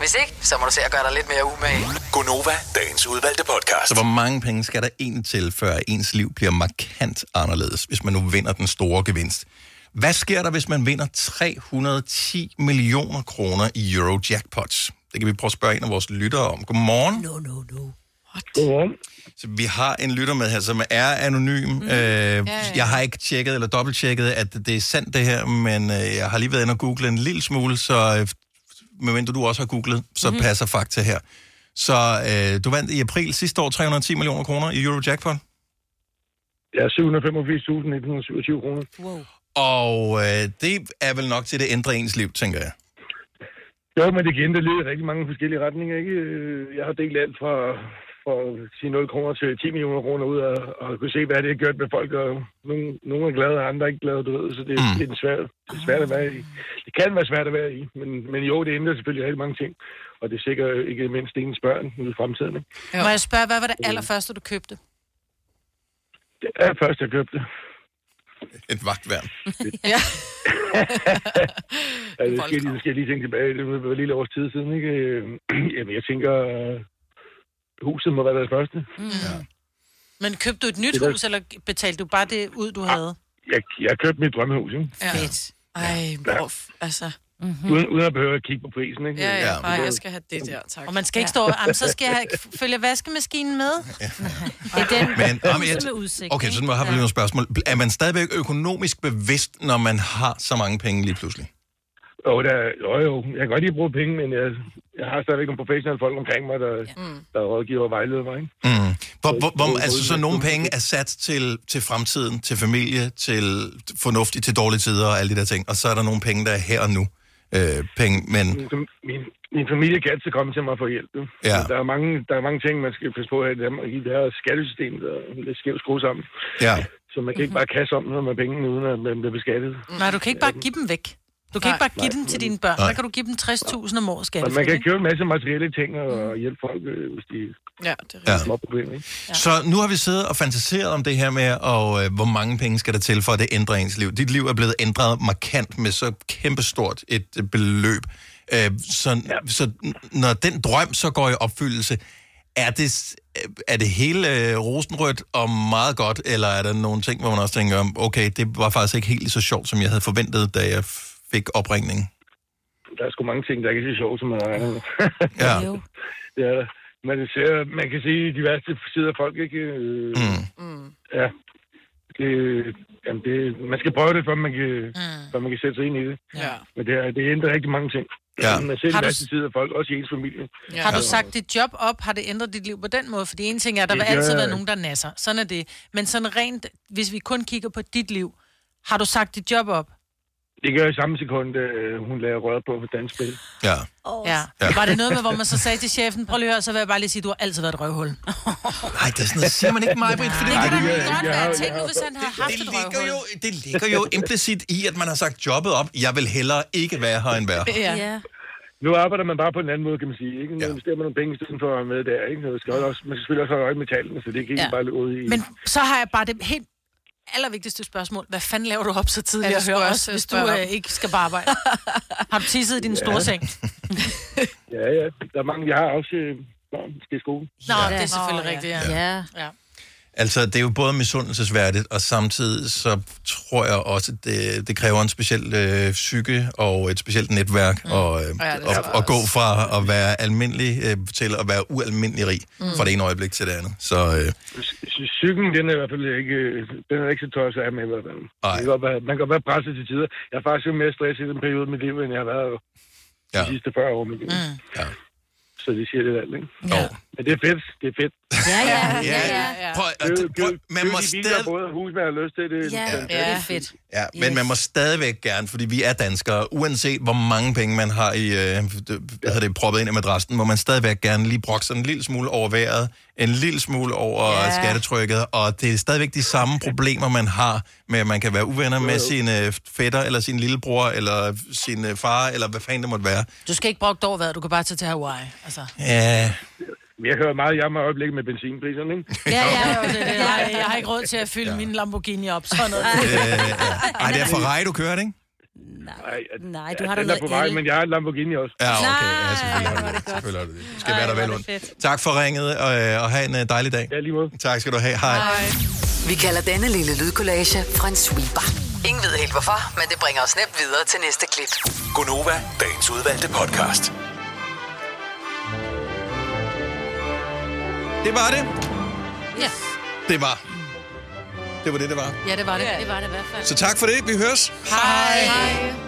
E: Hvis ikke, så må du se at gøre dig lidt mere umage.
A: Gonova, dagens udvalgte podcast. Så hvor mange penge skal der egentlig til, før ens liv bliver markant anderledes, hvis man nu vinder den store gevinst? Hvad sker der, hvis man vinder 310 millioner kroner i Eurojackpots? Det kan vi prøve at spørge en af vores lyttere om. Godmorgen. No, no, no. What? Så vi har en lytter med her, som er anonym. Mm. Øh, ja, ja. Jeg har ikke tjekket eller dobbelttjekket, at det er sandt det her, men øh, jeg har lige været inde og google en lille smule, så øh, medmindre du også har googlet, så
D: Mhm.
A: mm. passer fakta her. Så øh, du vandt i april sidste år 310 millioner kroner i Eurojackpot.
J: Ja, 785.127 kroner. Wow.
A: Og øh, det er vel nok til, at det ændrer ens liv, tænker jeg.
J: Jo, men det kan ændre lidt i rigtig mange forskellige retninger, ikke? Øh, Jeg har delt alt fra, fra sige 0 kroner til 10 millioner kroner ud, og, og kunne se, hvad det har gjort med folk, og nogle, nogle er glade, og andre er ikke glade, du ved, så det, mm. det er en svær, det er svært at være i. Det kan være svært at være i, men, men jo, det ændrer selvfølgelig rigtig mange ting, og det sikrer ikke mindst ens børn ude i fremtiden, ikke?
D: Jo. Må jeg spørge, hvad var det allerførste, du købte?
J: Det er først, jeg købte.
A: Et vagtværn.
D: ja.
J: altså, det skal, jeg lige- det skal jeg lige tænke tilbage. Det var et lille års tid siden, ikke? Øh, Jamen, jeg tænker, øh, huset må være det første.
D: Mm. Ja. Men købte du et nyt
J: Det er-
D: hus, eller betalte du bare det ud, du havde?
J: Jeg, jeg købte mit drømmehus, ikke?
D: Ja. Fedt. Ej, hvor... f- Altså...
J: Mm-hmm. Uden, uden at behøve at kigge på prisen, ikke?
D: Ja, ja, nej, jeg skal have det der, tak. Og man skal ikke stå og, "Jamen, så skal jeg have- følge vaskemaskinen med. Ja. Det er den
A: Men, ah, men
D: hus
A: jeg,
D: med udsigt.
A: okay, så nu har vi lige nogle spørgsmål. Er man stadigvæk økonomisk bevidst, når man har så mange penge lige pludselig?
J: Jo, der, jo, jo, jeg kan godt lide at bruge penge, men jeg, jeg har stadigvæk nogle professionelle folk omkring mig, der, mm. der rådgiver og vejleder mig, ikke?
A: Mm. Hvor, hvor, hvor, altså, så nogle penge er sat til, til fremtiden, til familie, til fornuftigt, til dårlige tider og alle de der ting. Og så er der nogle penge, der er her og nu. Øh, penge, men...
J: Min, min, min familie kan altid komme til mig for hjælp.
A: Ja.
J: Ja. Der, er mange, der er mange ting, man skal passe på her i Danmark, i det her skattesystem, der er lidt skævt skruet sammen.
A: Ja.
J: Så man kan ikke bare kasse om noget med pengene, uden at man bliver beskattet.
D: Nej, du kan ikke bare give dem væk. Du kan
J: Nej.
D: ikke bare give
J: Nej.
D: dem til dine børn.
J: Nej.
D: Så kan du give dem 60.000 om året
J: Men man
D: skattefrit.
J: kan
D: ikke?
J: købe en masse materielle ting og hjælpe folk, øh, hvis de
D: Ja, det
A: Ja.
J: har problemer. ikke?
A: Så nu har vi siddet og fantaseret om det her med, og øh, hvor mange penge skal der til, for at det ændrer ens liv. Dit liv er blevet ændret markant med så kæmpestort et øh, beløb. Øh, så, ja. så n- når den drøm så går i opfyldelse, er det, s- øh, er det hele øh, rosenrødt og meget godt, eller er der nogle ting, hvor man også tænker, om, okay, det var faktisk ikke helt så sjovt, som jeg havde forventet, da jeg f- fik opringningen?
J: Der er sgu mange ting, der ikke er så sjovt, som man regner med.
A: Ja.
J: det er der. Man kan, se, man kan se de værste sider af folk, ikke? Øh,
A: Mm.
J: Ja. Det, jamen det, man skal prøve det, før man, kan, mm. før man kan sætte sig ind i det.
D: Ja.
J: Men det, er, det ændrer rigtig mange ting.
A: Ja.
J: Man ser
D: Har
J: de
D: du-
J: værste sider af folk, også i ens familie.
D: Ja. Har du sagt dit job op? Har det ændret dit liv på den måde? Fordi en ting er, at der
J: Det
D: vil altid
J: gør-
D: være nogen, der nasser. Sådan er det. Men sådan rent, hvis vi kun kigger på dit liv, har du sagt dit job op?
J: Det gør jeg i samme sekund, øh, hun lader røret på for dansk spil.
A: Ja.
D: Oh. Ja.
J: Ja.
D: Var det noget med, hvor man så sagde til chefen, prøv lige at høre, så vil jeg bare lige sige, du har altid været et røvhul.
A: Nej, det er sådan noget, siger man ikke mig, Britt, for det,
D: Nej, det
A: ligger
D: kan da
A: jo-
D: godt
J: jeg
D: være.
J: har-
D: Tænk nu, hvis han havde haft
A: det
D: et
A: ligger
D: røvhul.
A: jo, det ligger jo implicit i, at man har sagt jobbet op. Jeg vil hellere ikke være her end være her.
D: ja.
J: Nu arbejder man bare på en anden måde, kan man sige. Ikke? Nu ja. investerer man nogle penge i stedet for at være med der. Ikke? Så Man, skal også, man skal selvfølgelig også holde øje med tallene, så det kan ikke
D: Ja.
J: ja. bare løbe ud i...
D: Men så har jeg bare det helt allervigtigste spørgsmål. Hvad fanden laver du op så tidligt?
C: Ja, det
D: Jeg
C: skulle
D: hører
C: jeg
D: også,
C: også
D: hvis du
C: spørge
D: øh,
C: om.
D: ikke skal bare arbejde. Har du tisset i din
J: Ja.
D: store seng?
J: Ja, ja. Der er mange, jeg har også øh, børn, der skal i skole.
D: Nå, det er selvfølgelig rigtigt, ja.
F: ja.
D: ja.
A: Altså, det er jo både misundelsesværdigt, og samtidig så tror jeg også, at det, det kræver en speciel øh, psyke og et specielt netværk, mm. og, øh,
V: det
A: ja,
V: tror jeg
A: og, og gå fra at være almindelig øh, til at være ualmindelig rig mm.
J: Mm.
A: fra det ene øjeblik til det andet. Så øh,
J: Sy- Cyklen, den er i hvert fald ikke, øh, den er ikke så tosset af med i hvert fald. Man kan, godt være, man kan godt være presset til tider. Jeg er faktisk mere stresset i den periode af mit liv, end jeg har været ja. de sidste 40 år af mit liv. Mm.
A: Ja.
J: Så det siger det alt, ikke? Ja. Men det er fedt, det er fedt.
F: Ja, ja,
A: ja, ja. Prøv, og det- prøv, man må
J: stadig... Både hus, man har lyst til det.
F: Ja,
J: fantastisk.
F: ja, det er fedt.
A: Ja, yes. men man må stadigvæk gerne, fordi vi er danskere, uanset hvor mange penge man har i, øh, det, hvad hedder det, proppet ind i madrassen, må man stadigvæk gerne lige brokke sig en lille smule over vejret, en lille smule over
V: Ja.
A: ja. skattetrykket, og det er stadigvæk de samme problemer, man har med, at man kan være uvenner med sine fætter, eller sin lillebror, eller sin øh, far, eller hvad fanden det måtte være.
D: Du skal ikke brokke dig over, hvad du kan bare tage til Hawaii. Altså.
A: Ja,
J: Men Jeg hører meget jammer i øjeblikket med benzinpriserne, ikke?
D: Ja, ja, jo, det, er det, jeg, jeg har har ikke råd til at fylde ja. min Lamborghini op. Sådan
J: Øh,
D: noget.
A: Ej, det er Ferrari, du kører, ikke?
J: Nej,
F: Nej,
A: du har da
J: den er
A: noget
J: på vej,
A: el.
J: men jeg har en Lamborghini også.
A: Ja, okay. Ja, selvfølgelig har du det. Selvfølgelig har du det. Du skal være der vel ondt. Tak for ringet, og, øh, og have en øh, dejlig dag. Ja, lige måde. Tak skal du have. Hej. Hej.
E: Vi kalder denne lille lydkollage Frans sweeper. Ingen ved helt hvorfor, men det bringer os nemt videre til næste klip.
I: Gonova, dagens udvalgte podcast.
A: Det var det.
F: Ja.
A: Det var. Det var det, det var.
F: ja, det var det. Det var det i hvert fald.
A: Så tak for det. Vi høres.
F: Hej. Hej.